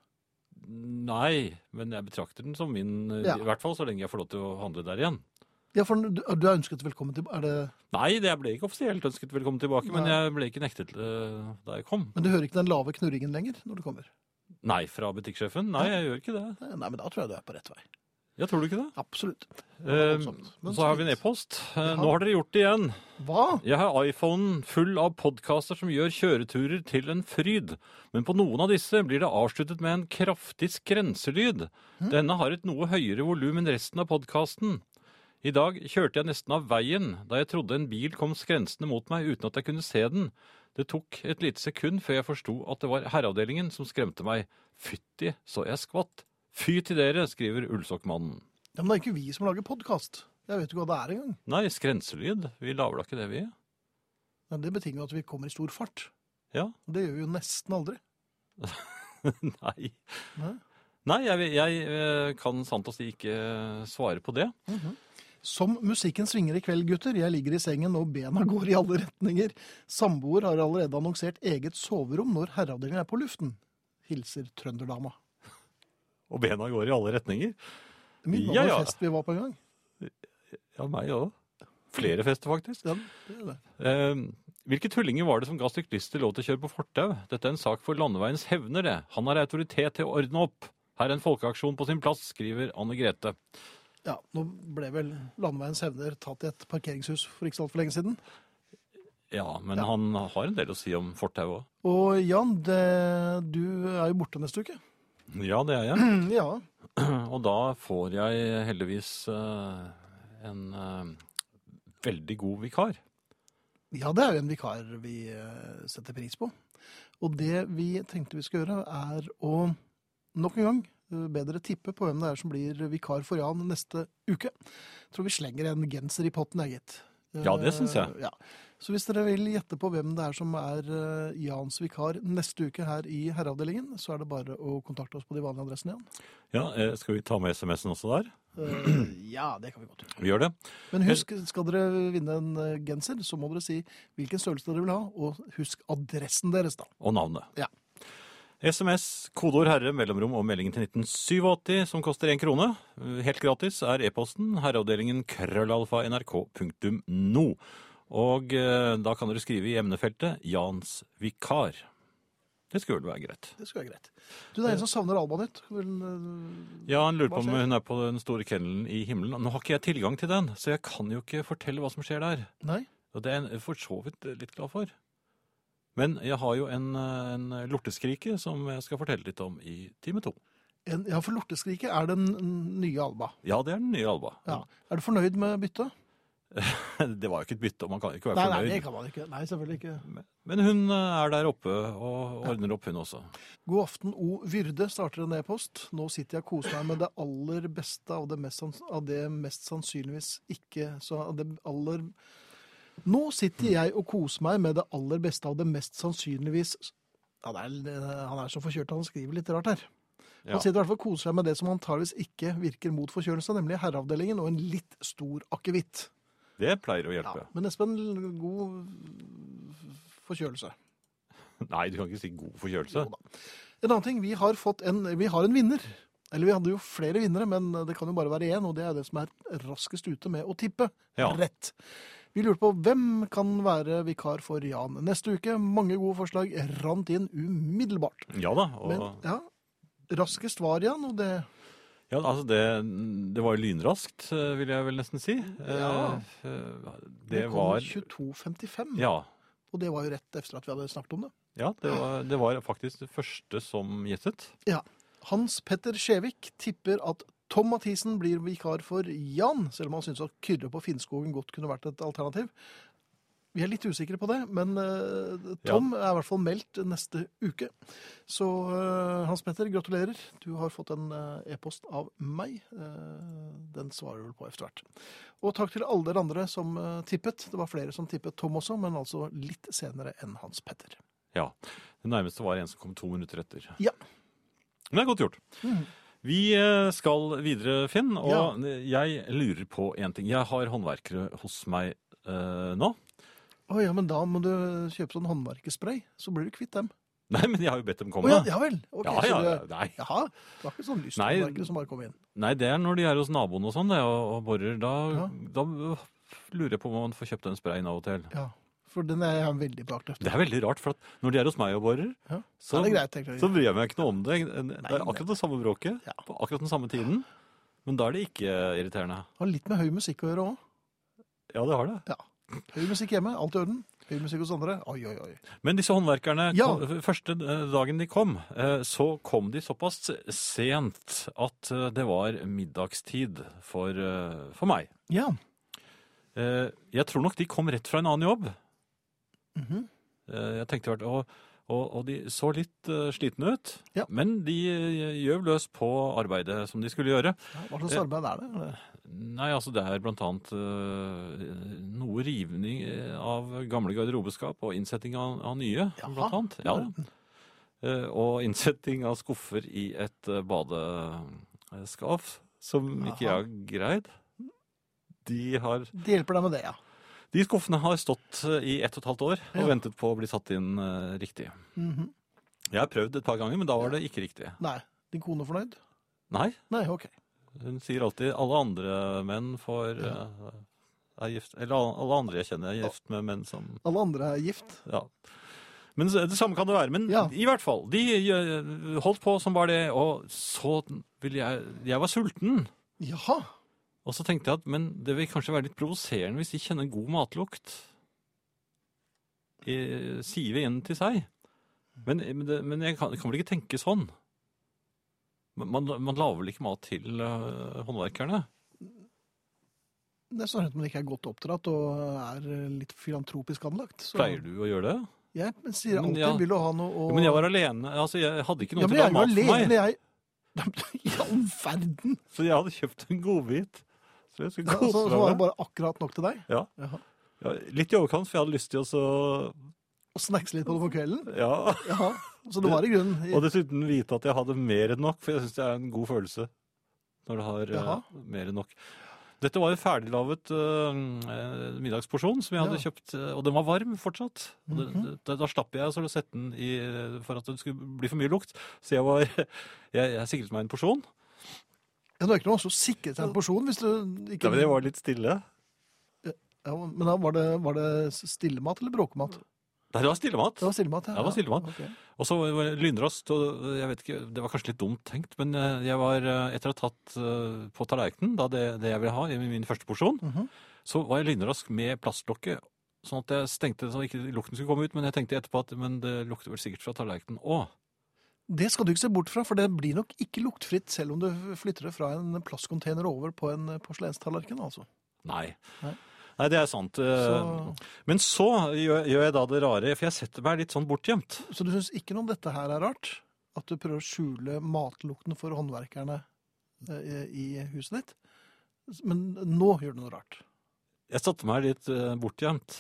Nei, men jeg betrakter den som min, øh,
Ja.
i hvert fall så lenge jeg får lov til å handle der igjen.
Ja, for du, du er ønsket velkommen til er det,
Nei, det- jeg ble ikke offisielt ønsket velkommen tilbake, men
Nei.
jeg ble ikke nektet øh, da jeg kom.
Men du hører ikke den lave knurringen lenger når du kommer?
Nei, fra butikksjefen? Nei, jeg gjør ikke det.
Nei, men da tror jeg du er på rett vei.
Jeg tror du ikke det?
Absolutt.
Eh,
voldsomt. Men
så har vi en
fint.
e-post. Eh,
Ja.
Nå har dere gjort det igjen.
Hva?
Jeg har iPhonen full av podkaster som gjør kjøreturer til en fryd, men på noen av disse blir det avsluttet med en kraftig skrenselyd.
Hm?
Denne har et noe høyere volum enn resten av podkasten. I dag kjørte jeg nesten av veien da jeg trodde en bil kom skrensende mot meg uten at jeg kunne se den. Det tok et lite sekund før jeg forsto at det var herreavdelingen som skremte meg. Fytti, så jeg skvatt. Fy til dere, skriver Ullsokkmannen.
Ja, men det er ikke vi som lager podkast. Jeg vet jo ikke hva det er engang.
Nei, skrenselyd. Vi lager da ikke det, vi.
Men det betinger jo at vi kommer i stor fart.
Ja.
Og det gjør vi jo nesten aldri.
Nei.
Nei.
Nei, jeg, jeg eh, kan sant å si ikke eh, svare på det.
Som musikken svinger i kveld, gutter. Jeg ligger i sengen og bena går i alle retninger. Samboer har allerede annonsert eget soverom når herreavdelingen er på luften. Hilser trønderdama.
Og bena går i alle retninger.
Det minner meg
Ja,
om en
ja.
fest vi var på en gang.
Ja, meg òg. Flere fester, faktisk.
Ja, det er det.
Eh, hvilke tullinger var det som ga syklister lov til å kjøre på fortau? Dette er en sak for landeveiens hevner, det. Han har autoritet til å ordne opp. Her er en folkeaksjon på sin plass, skriver Anne Grete.
Ja, nå ble vel Landeveiens hevner tatt i et parkeringshus for ikke så altfor lenge siden.
Ja, men
Ja.
han har en del å si om fortau òg.
Og Jan, det, du er jo borte neste uke.
Ja, det er jeg.
Ja.
Og da får jeg heldigvis eh, en eh, veldig god vikar.
Ja, det er jo en vikar vi eh, setter pris på. Og det vi tenkte vi skal gjøre, er å nok en gang eh, be dere tippe på hvem det er som blir vikar for Jan neste uke. Jeg tror vi slenger en genser i potten, jeg, gitt. Eh,
Ja, det synes jeg.
Ja. Så hvis dere vil gjette på hvem det er som er eh, Jans vikar neste uke her i herreavdelingen, så er det bare å kontakte oss på de vanlige adressene igjen.
Ja, eh, Skal vi ta med SMS-en også der?
Eh, ja, det kan vi godt gjøre.
Vi gjør det.
Men husk, skal dere vinne en eh, genser, så må dere si hvilken størrelse dere vil ha, og husk adressen deres, da.
Og navnet.
Ja.
SMS, kodeord herre, mellomrom og meldingen til 1987, som koster én krone. Helt gratis er e-posten herreavdelingen krøllalfa nrk.no. Og eh, da kan dere skrive i emnefeltet 'Jans vikar'. Det skulle vel være greit.
Det skulle være greit. Du, det er en som savner Albanyt. Vel, eh,
Ja, han lurer
Hva
på om
skjer?
hun er på den store kennelen i himmelen. Nå har ikke jeg tilgang til den, så jeg kan jo ikke fortelle hva som skjer der.
Nei?
Og det er jeg for så vidt eh, litt glad for. Men jeg har jo en, eh, en lorteskrike som jeg skal fortelle litt om i time to.
En, ja, for Lorteskriket er den nye Alba.
Ja, det er den nye Alba.
Ja. Er du fornøyd med byttet?
Det var jo ikke et bytte, og man kan jo ikke være
Nei, nei, det
fornøyd.
kan man ikke. Nei, selvfølgelig ikke.
Men hun eh, er der oppe og ordner opp, hun også.
God aften, O. Vyrde, starter en e-post. Nå sitter jeg og koser meg med det aller beste av det mest, sans- av det mest sannsynligvis ikke så av det aller Nå sitter jeg og koser meg med det aller beste av det mest sannsynligvis ja, det er, Han er så forkjørt, han skriver litt rart her. Han
Ja.
sitter i hvert fall og koser seg med det som antageligvis ikke virker mot forkjølelse, nemlig herreavdelingen og en litt stor akevitt.
Det pleier å
Ja,
hjelpe.
men Espen, god forkjølelse.
Nei, du kan ikke si god forkjølelse.
Jo da. En annen ting, vi har, fått en, vi har en vinner. Eller vi hadde jo flere vinnere, men det kan jo bare være én, og det er det som er raskest ute med å tippe
Ja.
rett. Vi lurte på hvem kan være vikar for Jan neste uke. Mange gode forslag rant inn umiddelbart.
ja da.
Men
Og,
ja, raskest var Jan, og det
ja, altså det, det var jo lynraskt, eh, vil jeg vel nesten si.
Ja.
Eh, eh,
Det
Det
kom
var
22.55,
Ja.
og det var jo rett etter at vi hadde snakket om det.
Ja, det var, det var faktisk det første som gjettet.
Hans Petter Skjevik tipper at Tom Mathisen blir vikar for Jan, selv om han syns at Kyrre på Finnskogen godt kunne vært et alternativ. Vi er litt usikre på det, men eh, Tom er i hvert fall meldt neste uke. Så eh, Hans Petter, gratulerer. Du har fått en eh, e-post av meg. Eh, den svarer du vel på etter hvert. Og takk til alle dere andre som eh, tippet. Det var flere som tippet Tom også, men altså litt senere enn Hans Petter.
Ja. Det nærmeste var en som kom to minutter etter.
Ja.
Men det er godt gjort.
Mhm.
Vi eh, skal videre, Finn, og jeg lurer på en ting. Jeg har håndverkere hos meg eh, nå.
Å ja, men da må du kjøpe sånn håndverkespray, så blir du kvitt dem.
Nei, men jeg har jo bedt dem
Å
komme.
ja, ja vel. Ok,
ja, ja,
så
ja,
du,
nei.
jaha, det var ikke sånn lyst
Nei.
håndverkere som bare kom inn.
nei, det er når de er hos naboen og sånn, det, og, og borer. Da,
Ja.
da øh, lurer jeg på om man får kjøpt den sprayen av og til.
Ja, For den er jeg veldig på jakt
Det
etter.
er veldig rart, for at når de er hos meg og borer,
Ja, Så
så,
er det greit, tenker
så
jeg.
bryr jeg meg ikke noe om det. Det er
det-
akkurat det samme bråket,
Ja.
på akkurat den samme tiden. Men da er det ikke irriterende.
Har litt med høy musikk å gjøre òg.
Ja, det har det.
Høy musikk hjemme, alt i orden. Høy musikk hos andre. Oi, oi, oi.
Men disse håndverkerne,
Ja.
kom, første eh, dagen de kom, eh, så kom de såpass sent at eh, det var middagstid for, eh, for meg.
Ja.
Eh, Jeg tror nok de kom rett fra en annen jobb.
mhm.
Eh, Jeg tenkte hvert, og, og, og de så litt eh, slitne ut,
Ja.
men de eh, gjøv løs på arbeidet som de skulle gjøre.
ja hva slags
Eh,
arbeid er det?
Nei, altså det er blant annet eh, noe rivning eh, av gamle garderobeskap og innsetting av, av nye,
Jaha,
blant annet. Ja, Eh, og innsetting av skuffer i et eh, badeskaf, som ikke jeg
Jaha.
har greid. De, har,
Det hjelper deg med det, ja.
de skuffene har stått eh, i ett og et halvt år og
Ja.
ventet på å bli satt inn eh, riktig.
Mhm.
Jeg har prøvd et par ganger, men da var det ikke riktig.
Nei. Din kone fornøyd?
Nei,
Nei, OK.
hun sier alltid alle andre menn får eh, er gift, Eller alle- alle andre jeg kjenner er gift med menn som
Alle andre er gift.
Ja. Men så- det samme kan det være. Men
Ja.
i hvert fall, de eh, holdt på som bare det, og så ville jeg Jeg var sulten.
Jaha.
Og så tenkte jeg at men det vil kanskje være litt provoserende hvis de kjenner god matlukt. Eh, Sive inn til seg. Men, men, det, men jeg kan, kan vel ikke tenke sånn? Men Man, man lager vel ikke mat til eh, håndverkerne?
Det er sånn at man ikke er godt oppdratt og er litt filantropisk anlagt. Så
Pleier du å gjøre det?
Jeg sier
Men
alltid
ja.
vil du ha noe å
Jo, men jeg var alene. Altså, jeg hadde ikke noen
Ja, men
til å
jeg er jo
lage mat for meg.
alene, jeg. I all verden!
Så jeg hadde kjøpt en godbit. Så jeg skulle
Ja, så,
kose
så var det
meg.
bare akkurat nok til deg?
Ja.
Jaha.
Ja, litt i overkant, for jeg hadde lyst til å så-
Og snackse litt på det for kvelden?
Ja.
Jaha. Så det var i grunnen
Og dessuten vite at jeg hadde mer enn nok, for jeg syns det er en god følelse. når du har eh,
Jaha.
mer enn nok. Dette var en ferdiglaget eh, eh, middagsporsjon som jeg hadde
Ja. Mhm.
kjøpt, eh, og den var varm fortsatt. Og det, det, da slapp jeg så å sette den i, eh, for at det skulle bli for mye lukt, så jeg, var, jeg, jeg sikret meg en porsjon.
Ja, det er ikke noe også å sikre seg en porsjon hvis du ikke
Ja, men jeg var litt stille.
Ja, men da var det, var det stillemat eller bråkemat?
Nei, det var stillemat.
Det var stillemat, ja.
Ja, det var stillemat.
Ja, ok.
Og så var det lynraskt, og jeg vet ikke, det var kanskje litt dumt tenkt, men eh, jeg var, eh, etter å ha tatt eh, på tallerkenen da det, det jeg ville ha i min første porsjon,
Mhm.
så var jeg lynrask med plastlokket, sånn at jeg stengte det så ikke lukten skulle komme ut, men jeg tenkte etterpå at men det lukter vel sikkert fra tallerkenen òg.
Det skal du ikke se bort fra, for det blir nok ikke luktfritt selv om du flytter det fra en plastcontainer over på en eh, porselenstallerken, altså.
Nei.
Nei.
Nei, det er sant. eh,
Så,
Men så gjør, gjør jeg da det rare, for jeg setter meg litt sånn bortgjemt.
så du syns ikke noe om dette her er rart? At du prøver å skjule matlukten for håndverkerne eh, i i huset ditt? Men nå gjør du noe rart.
Jeg satte meg litt eh, bortgjemt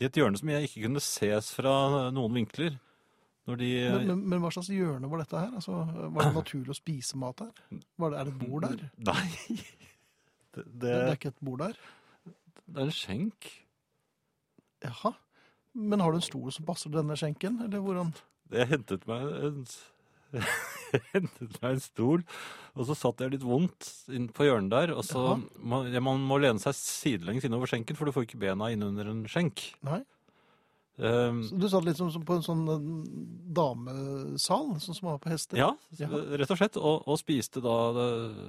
i et hjørne som jeg ikke kunne ses fra noen vinkler. Når de
Men, men, men hva slags hjørne var dette her? Altså, var det naturlig å spise mat her? Var det, er det et bord der?
Nei. Det, det,
Det er ikke et bord der?
det er en skjenk.
Jaha. Men har du en stol som passer til denne skjenken, eller hvordan?
Jeg hentet meg en, jeg hentet meg en stol, og så satt jeg litt vondt inn på hjørnet der. Og så man, ja, man må lene seg sidelengs innover skjenken, for du får ikke bena innunder en skjenk.
Nei?
Um,
Så du satt litt som, som på en sånn eh, damesal, sånn som man har på hester?
ja,
Ja.
rett og slett. Og, og spiste da det-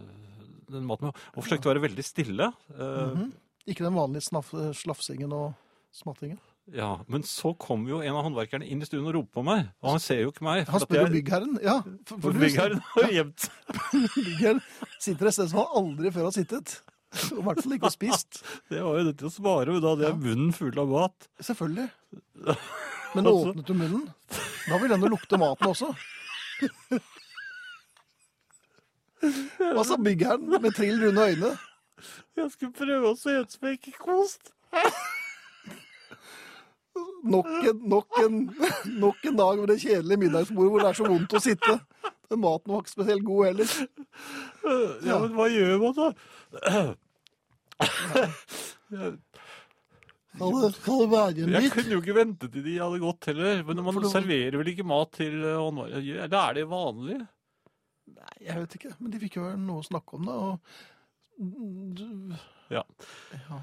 den maten med, og forsøkte å være veldig stille. Uh,
Mhm. Ikke den vanlige snaff, slafsingen og smattingen?
Ja, Men så kom jo en av håndverkerne inn i stuen og ropte på meg. Og han ser jo ikke meg.
Han spør jo byggherren. Ja, for, for
for
du-
byggherren har gjemt seg.
byggherren sitter et sted som han aldri før har sittet. Og i hvert fall ikke spist.
Det var jo det til å svare, og da hadde
Ja.
jeg munnen full av mat.
Selvfølgelig. Men nå
Altså-
åpnet du munnen. Da vil den jo lukte maten også. Hva sa byggherren med trill runde øyne?
Jeg skulle prøve å se ut som jeg ikke kost.
Nok en, nok en, nok en dag med det kjedelige middagsbordet hvor det er så vondt å sitte. Den maten var ikke spesielt god heller.
Ja, men hva gjør man da?
Kan det, kan det være en
Jeg
bit?
kunne jo ikke vente til de hadde gått heller. Men man
For det-
serverer vel ikke mat til eh, håndverkere? Gjør- Da er det vanlig.
Nei, jeg vet ikke. Men de fikk jo noe å snakke om, da. Og...
Ja.
Ja.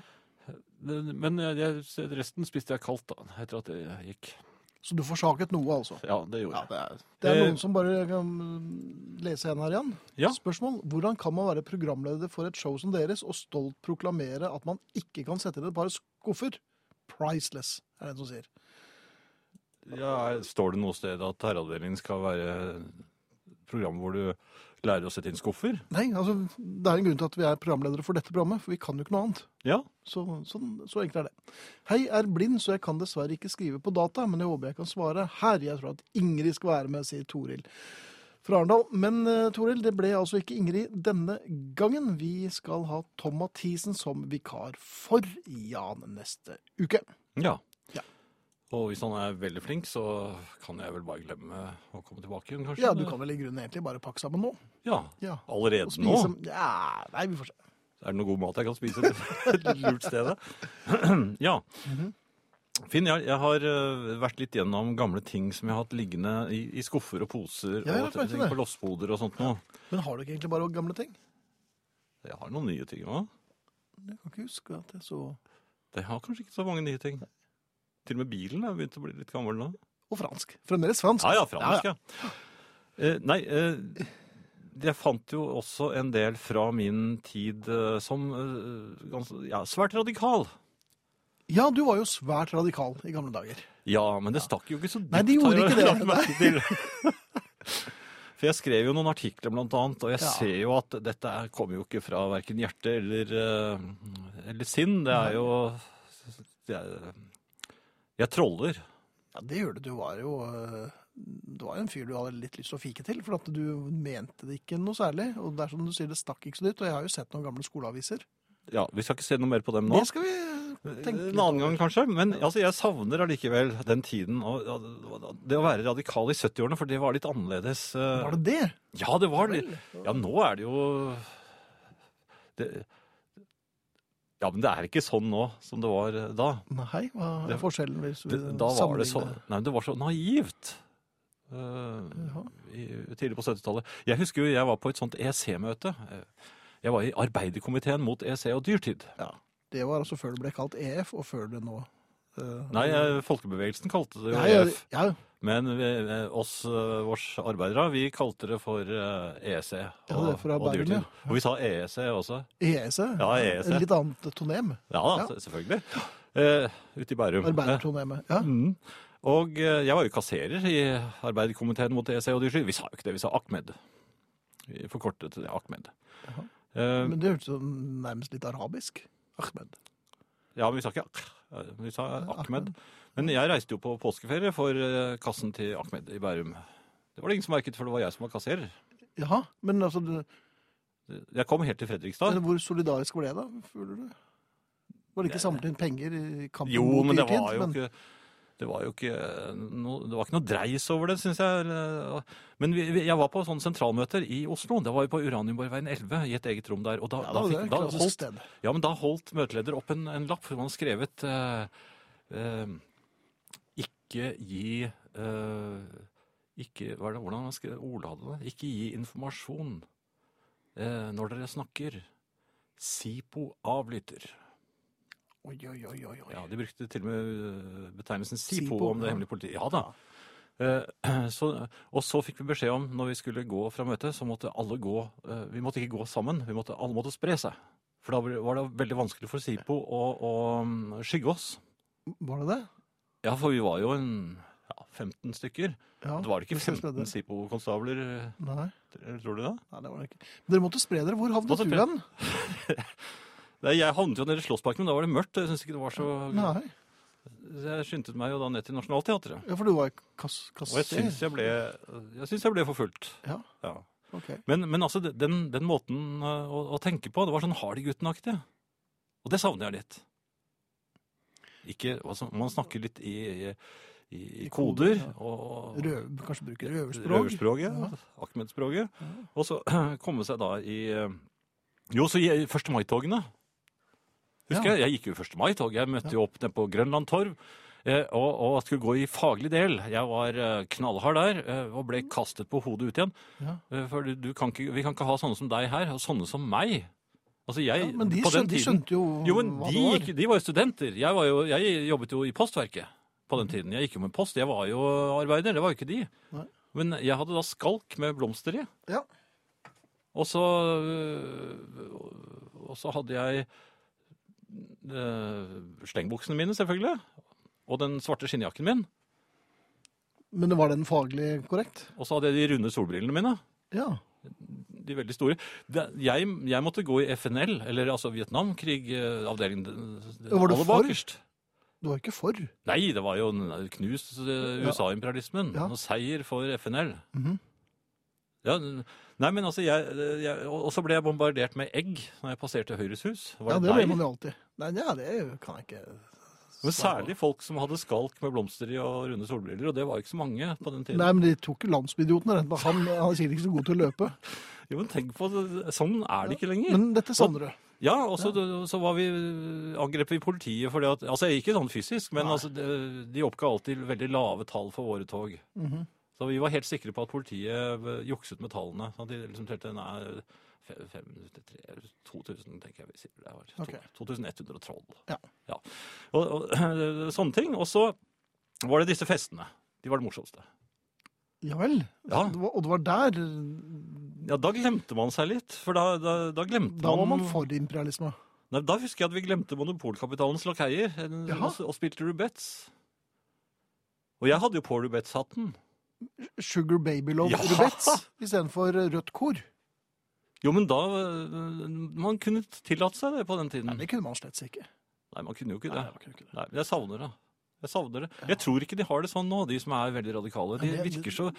Men men eh, jeg, resten spiste jeg kaldt da, etter at jeg gikk.
Så du forsaket noe, altså?
Ja, det gjorde jeg.
det er, det er
Eh,
noen som bare kan mm, lese en her igjen.
Ja.
Spørsmål. Hvordan kan man være programleder for et show som deres og stolt proklamere at man ikke kan sette inn et par skuffer? Priceless, er det en som sier.
Ja, står det noe sted at herreavdelingen skal være program hvor du lærer å sette inn skuffer?
Nei, altså, det er en grunn til at vi er programledere for dette programmet, for vi kan jo ikke noe annet.
Ja.
Så, sånn, så enkelt er det. Hei, er blind, så jeg kan dessverre ikke skrive på data, men jeg håper jeg kan svare her. Jeg tror at Ingrid skal være med, sier Toril fra Arendal. Men eh, Toril, det ble altså ikke Ingrid denne gangen. Vi skal ha Tom Mathisen som vikar for Jan neste uke.
Ja.
Ja.
Og hvis han er veldig flink, så kan jeg vel bare glemme å komme tilbake igjen, kanskje?
Ja, du kan vel i grunnen egentlig bare pakke sammen nå.
Ja,
Ja.
allerede
Og
nå?
spise Ja, nei, vi får se.
Er det noe god mat jeg kan spise et lurt sted? ja. Finn, jeg, jeg har øh, vært litt gjennom gamle ting som jeg har hatt liggende i, i skuffer og poser
Ja, jeg
og
har merket
ting
det.
på lossboder og sånt noe.
Men har du ikke egentlig bare gamle ting?
Jeg har noen nye ting òg.
Jeg kan ikke huske at jeg så
Jeg har kanskje ikke så mange nye ting. Til og med bilen er begynt å bli litt gammel nå.
Og fransk. Fremdeles fransk.
Ja, ja, fransk, ja. Eh, nei, eh, jeg fant jo også en del fra min tid eh, som eh, gans- ja, svært radikal.
Ja, du var jo svært radikal i gamle dager.
Ja, men det stakk jo ikke så dypt.
Nei, det gjorde
har jeg
ikke det.
lagt merke til. For jeg skrev jo noen artikler, blant annet, og jeg
Ja.
ser jo at dette er- kommer jo ikke fra verken hjerte eller, eh, eller sinn. Det er jo det er, Jeg troller.
Ja, det gjør du. Du var jo øh, du var jo en fyr du hadde litt lyst til å fike til, for at du mente det ikke noe særlig. Og det er som du sier, det stakk ikke så dypt. Og jeg har jo sett noen gamle skoleaviser.
Ja, Vi skal ikke se noe mer på dem nå.
Det skal vi tenke litt
En annen gang kanskje, men altså, jeg savner allikevel den tiden. Og, og, det å være radikal i 70-årene, for det var litt annerledes. eh,
Var det det?
Ja, det var det. Ja, nå er det jo Det, ja, men det er ikke sånn nå som det var eh, da.
Nei, hva er
Det-
forskjellen hvis vi
Det, da var det så,
sammenligner?
nei, men det var så naivt. eh,
Ja.
i, tidlig på 70-tallet. Jeg husker jo jeg var på et sånt EC-møte. Eh, Jeg var i arbeiderkomiteen mot EC og dyrtid.
Det var altså før det ble kalt EF, og før det nå eh,
Nei, eh, folkebevegelsen kalte det E jo
ja,
EF.
ja,
Men vi, eh, oss, eh, vårs arbeidere, vi kalte det for eh, EC og,
Ja, det er for
og
arbeiderne,
dyrtid.
ja.
Og vi sa EEC også.
EEC.
Ja, E EEC.
En E. litt annet tonem.
Ja,
Ja.
se- selvfølgelig. Eh, Ute i Bærum.
Arbeidertonemet. Ja.
Eh, mm. Og eh, jeg var jo kasserer i arbeiderkomiteen mot E EC og dyrtid. Vi sa jo ikke det, vi sa Ahmed. Vi forkortet det Ahmed. Eh,
Men det hørtes sånn nærmest litt arabisk. Ahmed.
Ja, men vi sa ikke Ak- vi sa Ahmed. Men jeg reiste jo på påskeferie for eh, kassen til Ahmed i Bærum. Det var det ingen som merket, for det var jeg som var kasserer.
Jaha, men altså, du,
Jeg kom helt til Fredrikstad.
men hvor solidarisk ble det, da? Føler du? Var det ikke samlet inn penger i kampen
Jo,
mot
men det
dyrtid?
var jo ikke det var jo ikke noe, det var ikke noe dreis over det, syns jeg. eller- Men vi, vi- jeg var på sånne sentralmøter i Oslo. Da var vi på Uranienborgveien 11 i et eget rom der. Og da,
Ja, det
da,
var
fikk,
et
da,
klassisk
holdt,
sted.
ja, men da holdt møteleder opp en, en lapp hvor man skrevet eh, eh, Ikke gi eh, ikke, hva er det, Hvordan skrev ordladet det? Ikke gi informasjon eh, når dere snakker. SIPO avlytter.
Oi, oi, oi, oi, oi.
Ja, De brukte til og med eh, betegnelsen SIPO,
SIPO,
om det
ja.
hemmelige politiet. Ja da. Eh, Så, og så fikk vi beskjed om når vi skulle gå fra møtet, så måtte alle gå eh, Vi måtte ikke gå sammen, vi måtte, alle måtte spre seg. For da ble- var det veldig vanskelig for SIPO å, å mm, skygge oss.
Var det det?
Ja, for vi var jo en ja, 15 stykker.
Ja,
Det var det ikke
hvis jeg spredde.
15 SIPO-konstabler, eh,
Nei,
tror du det?
nei, det var det ikke. Dere måtte spre dere. Hvor havnet du
Måtte spre-
hen?
Nei, Jeg havnet jo nede i Slåssparken, men da var det mørkt. og Jeg synes ikke det var så...
Nei,
Jeg skyndte meg jo da ned til Nationaltheatret.
ja, for du var kass... kass
Og jeg syns jeg ble, jeg synes jeg ble forfulgt.
Ja.
Ja.
Ok.
Men, men altså, den, den måten eh, å, å tenke på, det var sånn Hardy-gutten-aktig. Og det savner jeg litt. Ikke, altså, man snakker litt i, i, i,
I
i
koder,
koder
ja.
og
Røv, kanskje bruke røverspråk?
røverspråket. Ahmed-språket. Og så komme seg da i eh, Jo, så i 1. mai-togene. Husker
Ja.
jeg? Jeg gikk jo i 1. mai-tog. Jeg møtte jo opp nede på Grønland Torv. eh, Og, og skulle gå i faglig del. Jeg var eh, knallhard der eh, og ble kastet på hodet ut igjen.
Ja.
Eh, For du- du kan ikke, vi kan ikke ha sånne som deg her, og sånne som meg. Altså jeg,
Ja, men de,
på den
skjønte, de
tiden-
skjønte jo,
Jo, men
hva
de,
det var.
gikk, de var jo studenter. Jeg, var jo, jeg jobbet jo i postverket på den tiden. Jeg gikk jo med post. Jeg var jo arbeider, det var jo ikke de.
Nei.
Men jeg hadde da skalk med blomster i.
Ja.
Og så, øh, og så hadde jeg øh, slengbuksene mine, selvfølgelig. Og den svarte skinnjakken min.
Men var den faglig korrekt?
Og så hadde jeg de runde solbrillene mine.
Ja.
de veldig store. Det, jeg, jeg måtte gå i FNL, eller altså Vietnamkrig-avdelingen.
Var du for?
bakerst.
Du var ikke for.
Nei, det var jo en knust eh,
Ja.
USA-imperialismen.
Ja.
Og seier for FNL.
Mhm.
ja, nei, men altså, jeg, jeg, Og så ble jeg bombardert med egg når jeg passerte Høyres hus. Var
Ja,
det
det ble man
deg?
jo alltid. Nei, ja, det kan jeg ikke svare på.
Men særlig folk som hadde skalk med blomster i og runde solbriller. Og det var ikke så mange på den tiden.
Nei, men de tok jo landsbyidioten. rett og slett. Han, han er sikkert ikke så god til å løpe.
Jo, men tenk på det. Sånn er det ikke lenger.
Men dette savner du.
Ja, og så, så var vi, angrep vi politiet for det at Altså, ikke sånn fysisk, men
Nei.
altså, de, de oppga alltid veldig lave tall for våre tog.
Mhm.
Så vi var helt sikre på at politiet eh, jukset med tallene. Sånn at de liksom telte nei, fe- fem- tre- 2000, tenker jeg vi sier det var. To-
Ok.
2112.
Ja.
Og, og sånne ting. Og så var det disse festene. De var det morsomste.
Ja vel.
Ja.
Det var, og det var der
Ja, da glemte man seg litt. For da, da, da glemte
Da var man for imperialisme.
Nei, da husker jeg at vi glemte monopolkapitalens lakeier en-
Jaha.
og, og spilte rubets. Og jeg hadde jo på rubets-hatten.
Sugar Baby Love
Ja!
Rubets istedenfor rødt kor.
Jo, men da øh, Man kunne tillate seg det på den tiden.
Nei, det kunne man slett ikke.
Nei, man kunne jo ikke
Nei,
det.
det var ikke det.
Nei, men jeg savner det. Jeg savner det. Jeg tror ikke de har det sånn nå, de som er veldig radikale. De
Ja, det-
virker så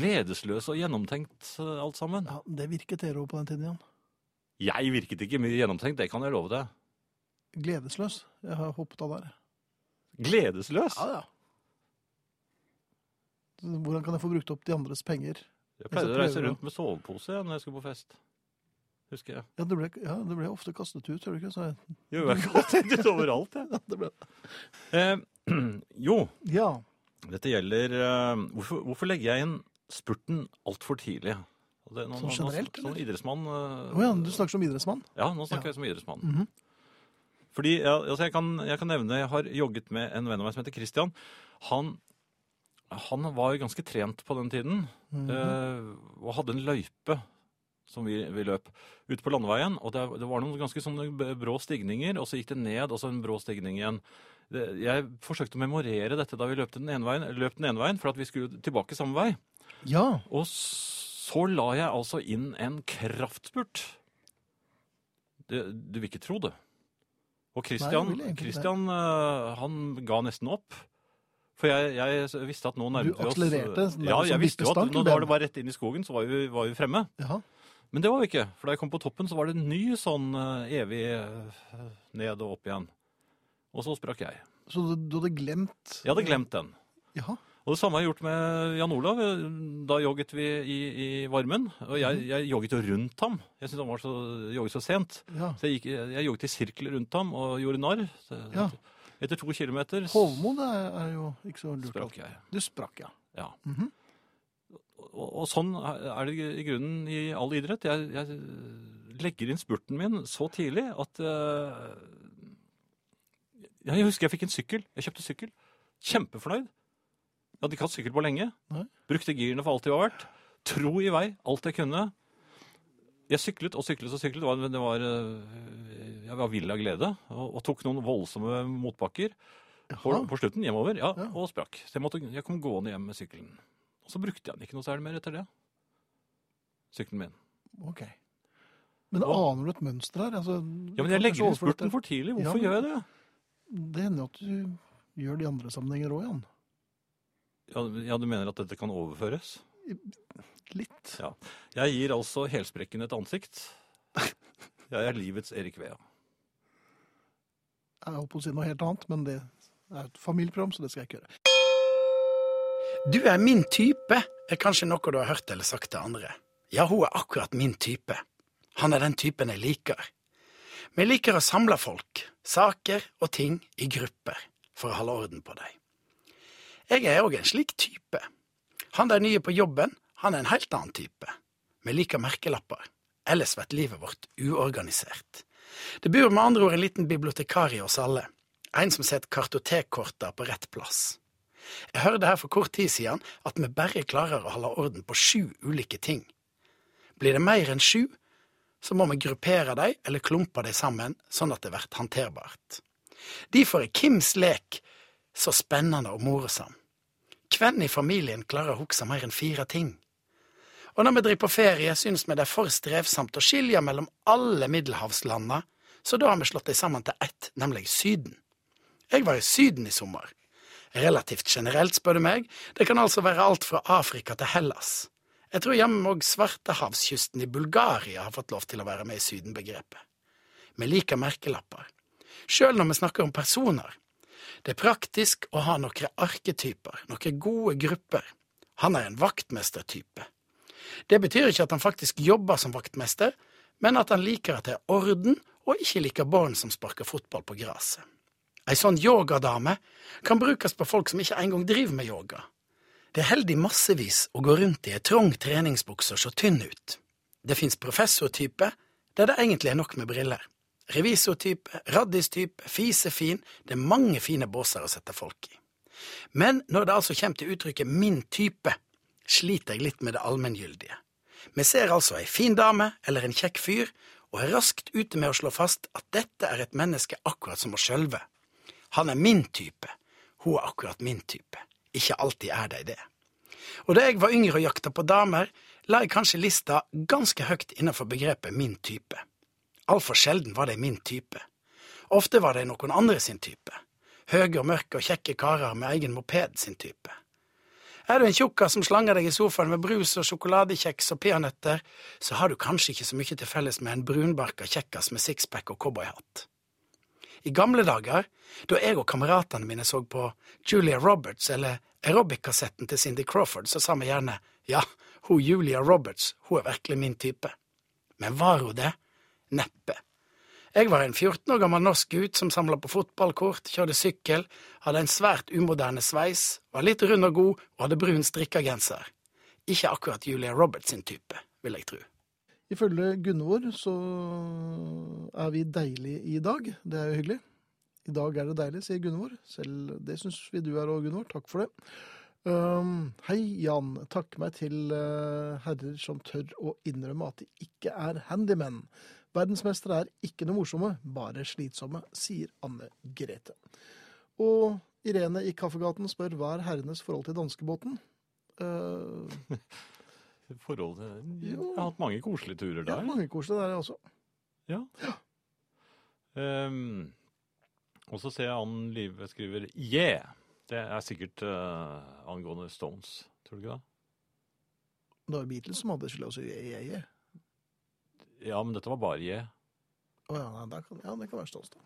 gledesløse og gjennomtenkt øh, alt sammen.
Ja, det virket dere òg på den tiden, Jan.
Jeg virket ikke mye gjennomtenkt, det kan jeg love deg.
Gledesløs. Jeg har hoppet av der.
Gledesløs?
ja. Hvordan kan jeg få brukt opp de andres penger?
Jeg
så
pleide å reise
prøver du.
rundt med sovepose jeg, når jeg skulle på fest. husker jeg.
Ja, det ble, ja, det ble ofte kastet ut, tror du ikke? Så, jeg-
Jo, jeg har kastet ut overalt, jeg.
ja, det ble,
Eh, jo,
ja.
dette gjelder eh, hvorfor, hvorfor legger jeg inn spurten altfor tidlig? Og det- nå-
Sånn
nå- nå-
generelt,
Som
eller?
idrettsmann. eh,
Å ja, du snakker som idrettsmann?
Ja, nå
Ja.
snakker jeg som idrettsmann.
Mhm.
Fordi, ja, altså jeg, kan, jeg kan nevne, jeg har jogget med en venn av meg som heter Christian. Han, han var jo ganske trent på den tiden,
Mhm.
eh, og hadde en løype som vi, vi løp ute på landeveien. Og det, det var noen ganske sånne b- brå stigninger, og så gikk det ned, og så en brå stigning igjen. Det, jeg forsøkte å memorere dette da vi løp den ene veien, løp den ene veien for at vi skulle tilbake samme vei.
Ja.
Og så la jeg altså inn en kraftspurt. Det, du vil ikke tro det. Og Christian,
vil jeg egentlig ikke.
Christian eh, han ga nesten opp. For jeg, jeg visste at nå nærmet vi oss
akselererte, sånn der
Ja,
som
jeg visste jo at
vippestang,
nå
den.
var det bare rett inn i skogen, så var vi, var vi fremme.
ja.
Men det var vi ikke. For da jeg kom på toppen, så var det en ny sånn eh, evig eh, ned og opp igjen. Og så sprakk jeg.
Så du, du hadde glemt
Jeg hadde glemt den.
Ja.
Og det samme har jeg gjort med Jan Olav. Da jogget vi i, i varmen. Og jeg, jeg jogget jo rundt ham. Jeg syntes han var så, jogget så sent.
ja.
Så jeg, gikk, jeg jogget i sirkler rundt ham og gjorde narr. Så,
Ja.
Etter to kilometer s-
Hovmo det er er jo ikke så lurt.
sprakk
alltid.
jeg.
Du sprakk, ja.
Ja.
Mhm.
og, og sånn er det i grunnen i all idrett. Jeg, jeg legger inn spurten min så tidlig at eh, Jeg husker jeg fikk en sykkel. Jeg kjøpte sykkel. Kjempefornøyd. Jeg hadde ikke hatt sykkel på lenge.
Nei.
Brukte girene for alt de var verdt. Tro i vei alt jeg kunne. Jeg syklet og syklet og syklet. Det var, det var, eh, jeg var vill av glede og, og tok noen voldsomme motbakker på,
Jaha.
på slutten hjemover. Ja,
Ja.
Og sprakk. Så jeg, måtte, jeg kom gående hjem med sykkelen. Og så brukte jeg den ikke noe særlig mer etter det. Sykkelen min.
Ok. Men
Og-
aner du et mønster her? Altså,
Ja, Men jeg legger inn spurten for tidlig.
Ja,
Hvorfor
men-
gjør jeg det?
Det hender jo at du gjør det i andre sammenhenger òg, Jan.
Ja, ja, Du mener at dette kan overføres?
Litt.
Ja. Jeg gir altså helsprekken et ansikt. Jeg er livets Erik Vea.
Jeg holdt på å si noe helt annet, men det er et familieprogram, så det skal jeg ikke gjøre.
Du er min type, er kanskje noe du har hørt eller sagt til andre. Ja, hun er akkurat min type. Han er den typen jeg liker. Vi liker å samle folk, saker og ting i grupper, for å holde orden på dem. Jeg er òg en slik type. Han der nye på jobben, han er en helt annen type. Vi liker merkelapper, ellers blir livet vårt uorganisert. Det bor med andre ord en liten bibliotekar i oss alle, en som setter kartotekkorta på rett plass. Jeg hørte her for kort tid siden at vi bare klarer å holde orden på sju ulike ting. Blir det mer enn sju, så må vi gruppere dem eller klumpe dem sammen, sånn at det blir håndterbart. Derfor er Kims lek så spennende og morosam. Hvem i familien klarer å huske mer enn fire ting? Og når vi driver på ferie, synes vi det er for strevsomt å skilje mellom alle middelhavslandene, så da har vi slått dem sammen til ett, nemlig Syden. Jeg var i Syden i sommer. Relativt generelt, spør du meg. Det kan altså være alt fra Afrika til Hellas. Jeg tror jammen òg svartehavskysten i Bulgaria har fått lov til å være med i Syden-begrepet. Vi liker merkelapper. Sjøl når vi snakker om personer. Det er praktisk å ha noen arketyper, noen gode grupper. Han er en vaktmestertype. Det betyr ikke at han faktisk jobber som vaktmester, men at han liker at det er orden, og ikke liker barn som sparker fotball på gresset. Ei sånn yogadame kan brukes på folk som ikke engang driver med yoga. Det er heldig massevis å gå rundt i ei trang treningsbukse og se tynn ut. Det fins professortype, der det egentlig er nok med briller. Revisortype, raddistype, fisefin, det er mange fine båser å sette folk i. Men når det altså kommer til uttrykket min type, sliter jeg litt med det allmenngyldige. Vi ser altså ei fin dame eller en kjekk fyr, og er raskt ute med å slå fast at dette er et menneske akkurat som oss sjølve. Han er min type. Hun er akkurat min type. Ikke alltid er de det. Og da jeg var yngre og jakta på damer, la jeg kanskje lista ganske høyt innenfor begrepet min type. Altfor sjelden var de min type. Ofte var de noen andre sin type. Høye og mørke og kjekke karer med egen moped sin type. Er du en tjukkas som slanger deg i sofaen med brus og sjokoladekjeks og peanøtter, så har du kanskje ikke så mye til felles med en brunbarka kjekkas med sixpack og cowboyhatt. I gamle dager, da jeg og kameratene mine så på Julia Roberts eller aerobic-kassetten til Cindy Crawford, så sa vi gjerne ja, hun Julia Roberts, hun er virkelig min type. Men var hun det? Neppe. Jeg var en 14 år gammel norsk gutt som samla på fotballkort, kjørte sykkel, hadde en svært umoderne sveis, var litt rund og god og hadde brun strikka genser. Ikke akkurat Julia Roberts sin type, vil jeg tro.
Ifølge Gunvor så er vi deilige i dag. Det er jo hyggelig. I dag er det deilig, sier Gunvor. Selv det syns vi du er òg, Gunvor. Takk for det. Ehm, hei, Jan. Takk meg til eh, herrer som tør å innrømme at de ikke er handymen. Verdensmestere er ikke noe morsomme, bare slitsomme, sier Anne Grete. Og Irene i Kaffegaten spør hva er herrenes forhold til danskebåten? Uh,
Forholdet Jeg
Jo.
har hatt mange koselige turer
ja,
der.
mange koselige der, jeg også.
Ehm, og så ser jeg Ann Live skriver Yeah! Det er sikkert eh, angående Stones, tror du ikke det?
Det var jo Beatles som hadde skylda oss i EEE.
Ja, men dette var bare Yeah.
Å ja, nei, der kan, ja, det kan være Stones, da.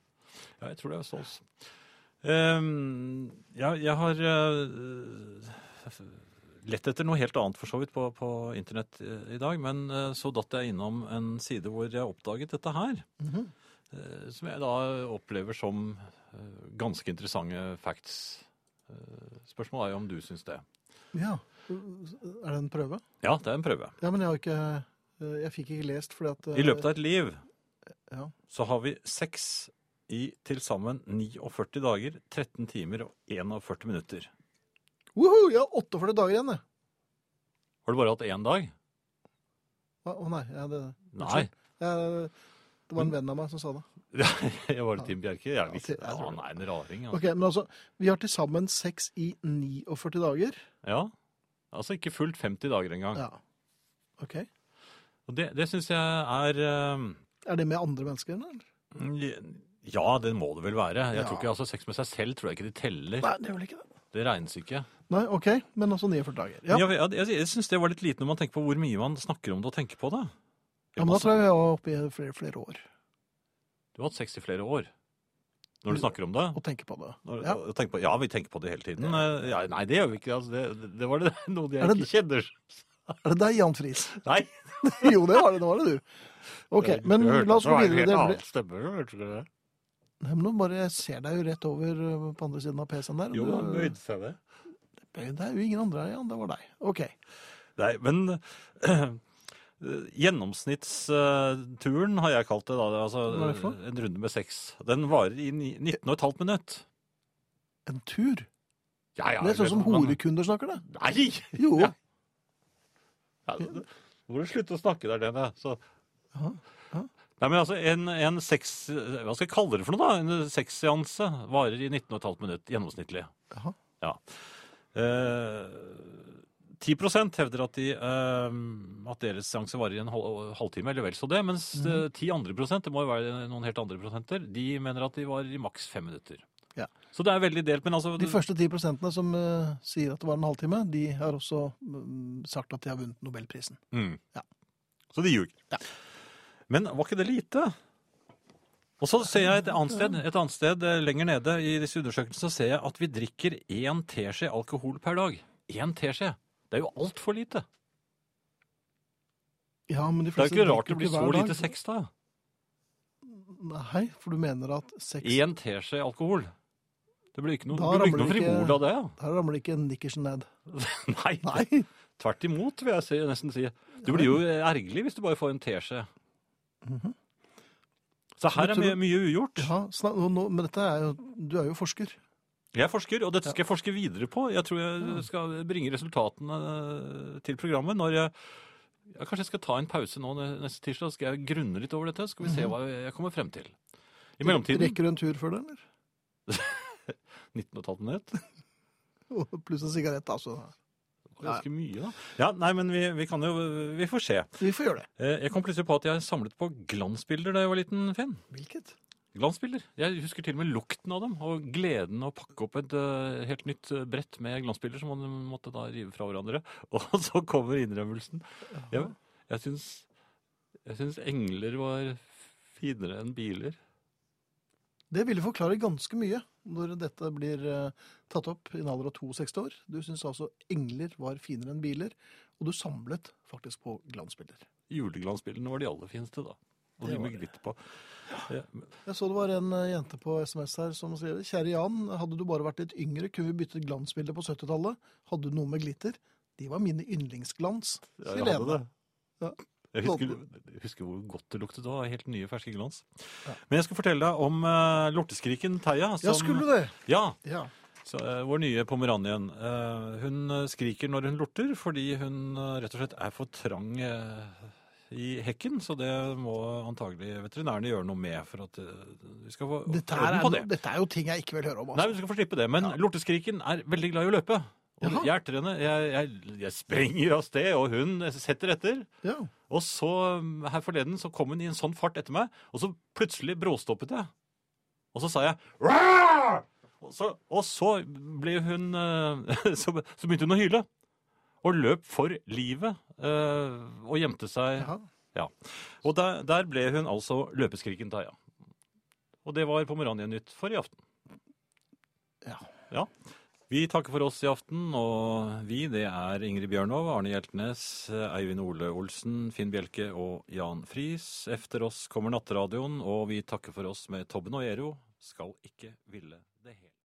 Ja, jeg tror det er Stones. Ehm, ja, jeg har eh, lett etter noe helt annet for så vidt på, på internett eh, i dag, men eh, så datt jeg innom en side hvor jeg oppdaget dette her.
Mhm.
eh, som jeg da opplever som eh, ganske interessante facts. Eh, spørsmålet er jo om du syns det.
Ja. Er det en prøve?
Ja, det er en prøve.
Ja, men jeg har ikke eh, Jeg fikk ikke lest fordi at
I løpet av et liv
Eh, Ja.
så har vi sex i til sammen 49 dager, 13 timer og 41 minutter.
Woho! eh, Jeg har 48 dager igjen, jeg.
Har du bare hatt én dag?
Å å nei. Jeg, det,
Nei.
jeg, det var en venn av meg som sa det.
Jeg var det Tim Bjerke? Jeg visste
jeg
ja,
tror det.
Han er en raring. Han.
Ok, Men altså, vi har til sammen sex i 49 dager.
Ja. Altså ikke fullt 50 dager engang.
Ja. Ok.
Og det, det syns jeg er eh,
Er det med andre mennesker? Eller?
Ja, det må det vel være. Jeg
Ja.
tror ikke altså Sex med seg selv tror jeg ikke de teller.
Nei, det er vel ikke det.
Det regnes ikke.
Nei, ok, Men altså 49 dager.
Ja.
Ja,
Jeg, jeg, jeg syns det var litt lite når man tenker på hvor mye man snakker om det og tenker på det.
ja Men da tror jeg vi var oppe i flere, flere år
Du har hatt sex i flere år. Når du snakker om det.
og tenker på det.
Når,
Ja.
og tenker på, ja, vi tenker på det hele tiden. Eh, Ja, nei, det gjør vi ikke. Altså, det, det var det, noe jeg
Er det
ikke kjenner.
Er det deg, Jan Friis?
Nei.
jo, det var det. Det var det, du. Ok, Men la oss gå videre. Det ble,
videre.
Nei, men nå bare jeg ser deg jo rett over ø, på andre siden av PC-en der.
Jo,
Du-
han bøyde seg det.
Bøyd, Det er jo ingen andre her, Jan. Det var deg. OK.
Nei, men gjennomsnittsturen har jeg kalt det. da. Det er Altså,
Hva er det for noe?
En runde med seks. Den varer i ni- 19 og et halvt minutt.
En tur?
Ja, ja,
det er sånn som
men-
horekunder snakker, det.
Nei!
Jo.
Ja. Ja, det- Nå må du slutte å snakke der, Lene. Så.
Ja, ja.
Nei, men altså, en, en sex... Hva skal jeg kalle det for noe, da? En sexseanse varer i 19 og et halvt minutt, gjennomsnittlig.
Jaha.
Ja. Eh, 10 hevder at, de, eh, at deres seanse varer i en hal- halvtime, eller vel så det. Mens
Mhm.
eh, 10 andre prosent, det må jo være noen helt andre prosenter, de mener at de varer i maks fem minutter.
Ja.
Så det er veldig delt, men altså
De første ti prosentene som ø, sier at det var en halvtime, de har også mm, sagt at de har vunnet Nobelprisen.
Mm.
Ja.
Så de ljuger. Men var ikke det lite? Og så ser jeg et annet sted, et annet sted eh, lenger nede i disse undersøkelsene, så ser jeg at vi drikker én teskje alkohol per dag. Én teskje. Det er jo altfor lite.
Ja, men de
Det er
fleste
jo ikke rart
drikker
det blir
ikke
så
hver dag.
lite sex, da.
Nei, for du mener at sex
Én teskje alkohol. Det blir ikke noe,
Da
det blir ikke noe
ramler det ikke-
fribol av det.
Her ramler ikke nikkersen ned.
Nei,
Nei.
tvert imot, vil jeg si, nesten si. Du blir jo eh, ergerlig hvis du bare får en teskje.
Mhm.
Så her
du
er mye,
tror-
mye ugjort.
Ja, snak, nå, nå, men dette er jo Du er jo forsker.
Jeg forsker, og dette skal jeg forske videre på. Jeg tror jeg skal bringe resultatene eh, til programmet når jeg ja, Kanskje jeg skal ta en pause nå ne- neste tirsdag, så skal jeg grunne litt over dette. så Skal vi se hva jeg kommer frem til. I mellomtiden
Rekker du en tur før det, eller?
19,5 minutt.
Og Pluss en sigarett, altså.
Ganske mye, da. Ja, nei, men vi, vi kan jo Vi får se.
Vi får gjøre det.
Eh, Jeg kom plutselig på at jeg samlet på glansbilder da jeg var liten, Finn.
Hvilket?
Glansbilder. Jeg husker til og med lukten av dem, og gleden av å pakke opp et eh, helt nytt eh, brett med glansbilder som man måtte da rive fra hverandre. Og så kommer innrømmelsen. Jeg, jeg, syns, jeg syns engler var finere enn biler.
Det ville forklare ganske mye. når dette blir eh, tatt opp i en alder av 62 år. Du syns altså engler var finere enn biler, og du samlet faktisk på glansbilder.
Juleglansbildene var de aller fineste, da. Og
Det
de
var
med glitter på. Ja, men-
Jeg så det var en eh, jente på SMS her som skrev Kjære Jan, hadde du bare vært litt yngre, kunne vi byttet glansbilder på 70-tallet. Hadde du noe med glitter? De var mine yndlingsglans.
Ja,
sier
jeg hadde
Lene.
det.
Ja.
Jeg husker, jeg husker hvor godt det luktet òg. Helt nye, ferske glans. Men jeg skal fortelle deg om eh, lorteskriken Theia.
Ja, skulle du det?
Ja,
Ja.
så, eh, vår nye pomeranien. Eh, hun eh, skriker når hun lorter, fordi hun eh, rett og slett er for trang eh, i hekken. Så det må antagelig veterinærene gjøre noe med for at eh, vi skal få
Dette, her
orden
er,
på det.
no- dette er jo ting jeg ikke vil høre om.
Nei,
Altså.
du skal få slippe det. Men lorteskriken er veldig glad i å løpe. Og
Jaha.
jeg erter henne. Jeg, jeg, jeg springer av sted, og hun setter etter.
Ja.
Og så, um, her forleden, så kom hun i en sånn fart etter meg, og så plutselig bråstoppet jeg. Og så sa jeg «Rar!» og så, og så ble hun eh, så, så begynte hun å hyle. Og løp for livet. eh, og gjemte seg.
Ja.
Og der, der ble hun altså løpeskriken Taja. Og det var Pomerania-nytt for i aften.
Ja.
Ja. Vi takker for oss i aften, og vi det er Ingrid Bjørnov, Arne Hjeltnes, Eivind Ole Olsen, Finn Bjelke og Jan Friis. Efter oss kommer Natteradioen, og vi takker for oss med Tobben og Ero. Skal ikke ville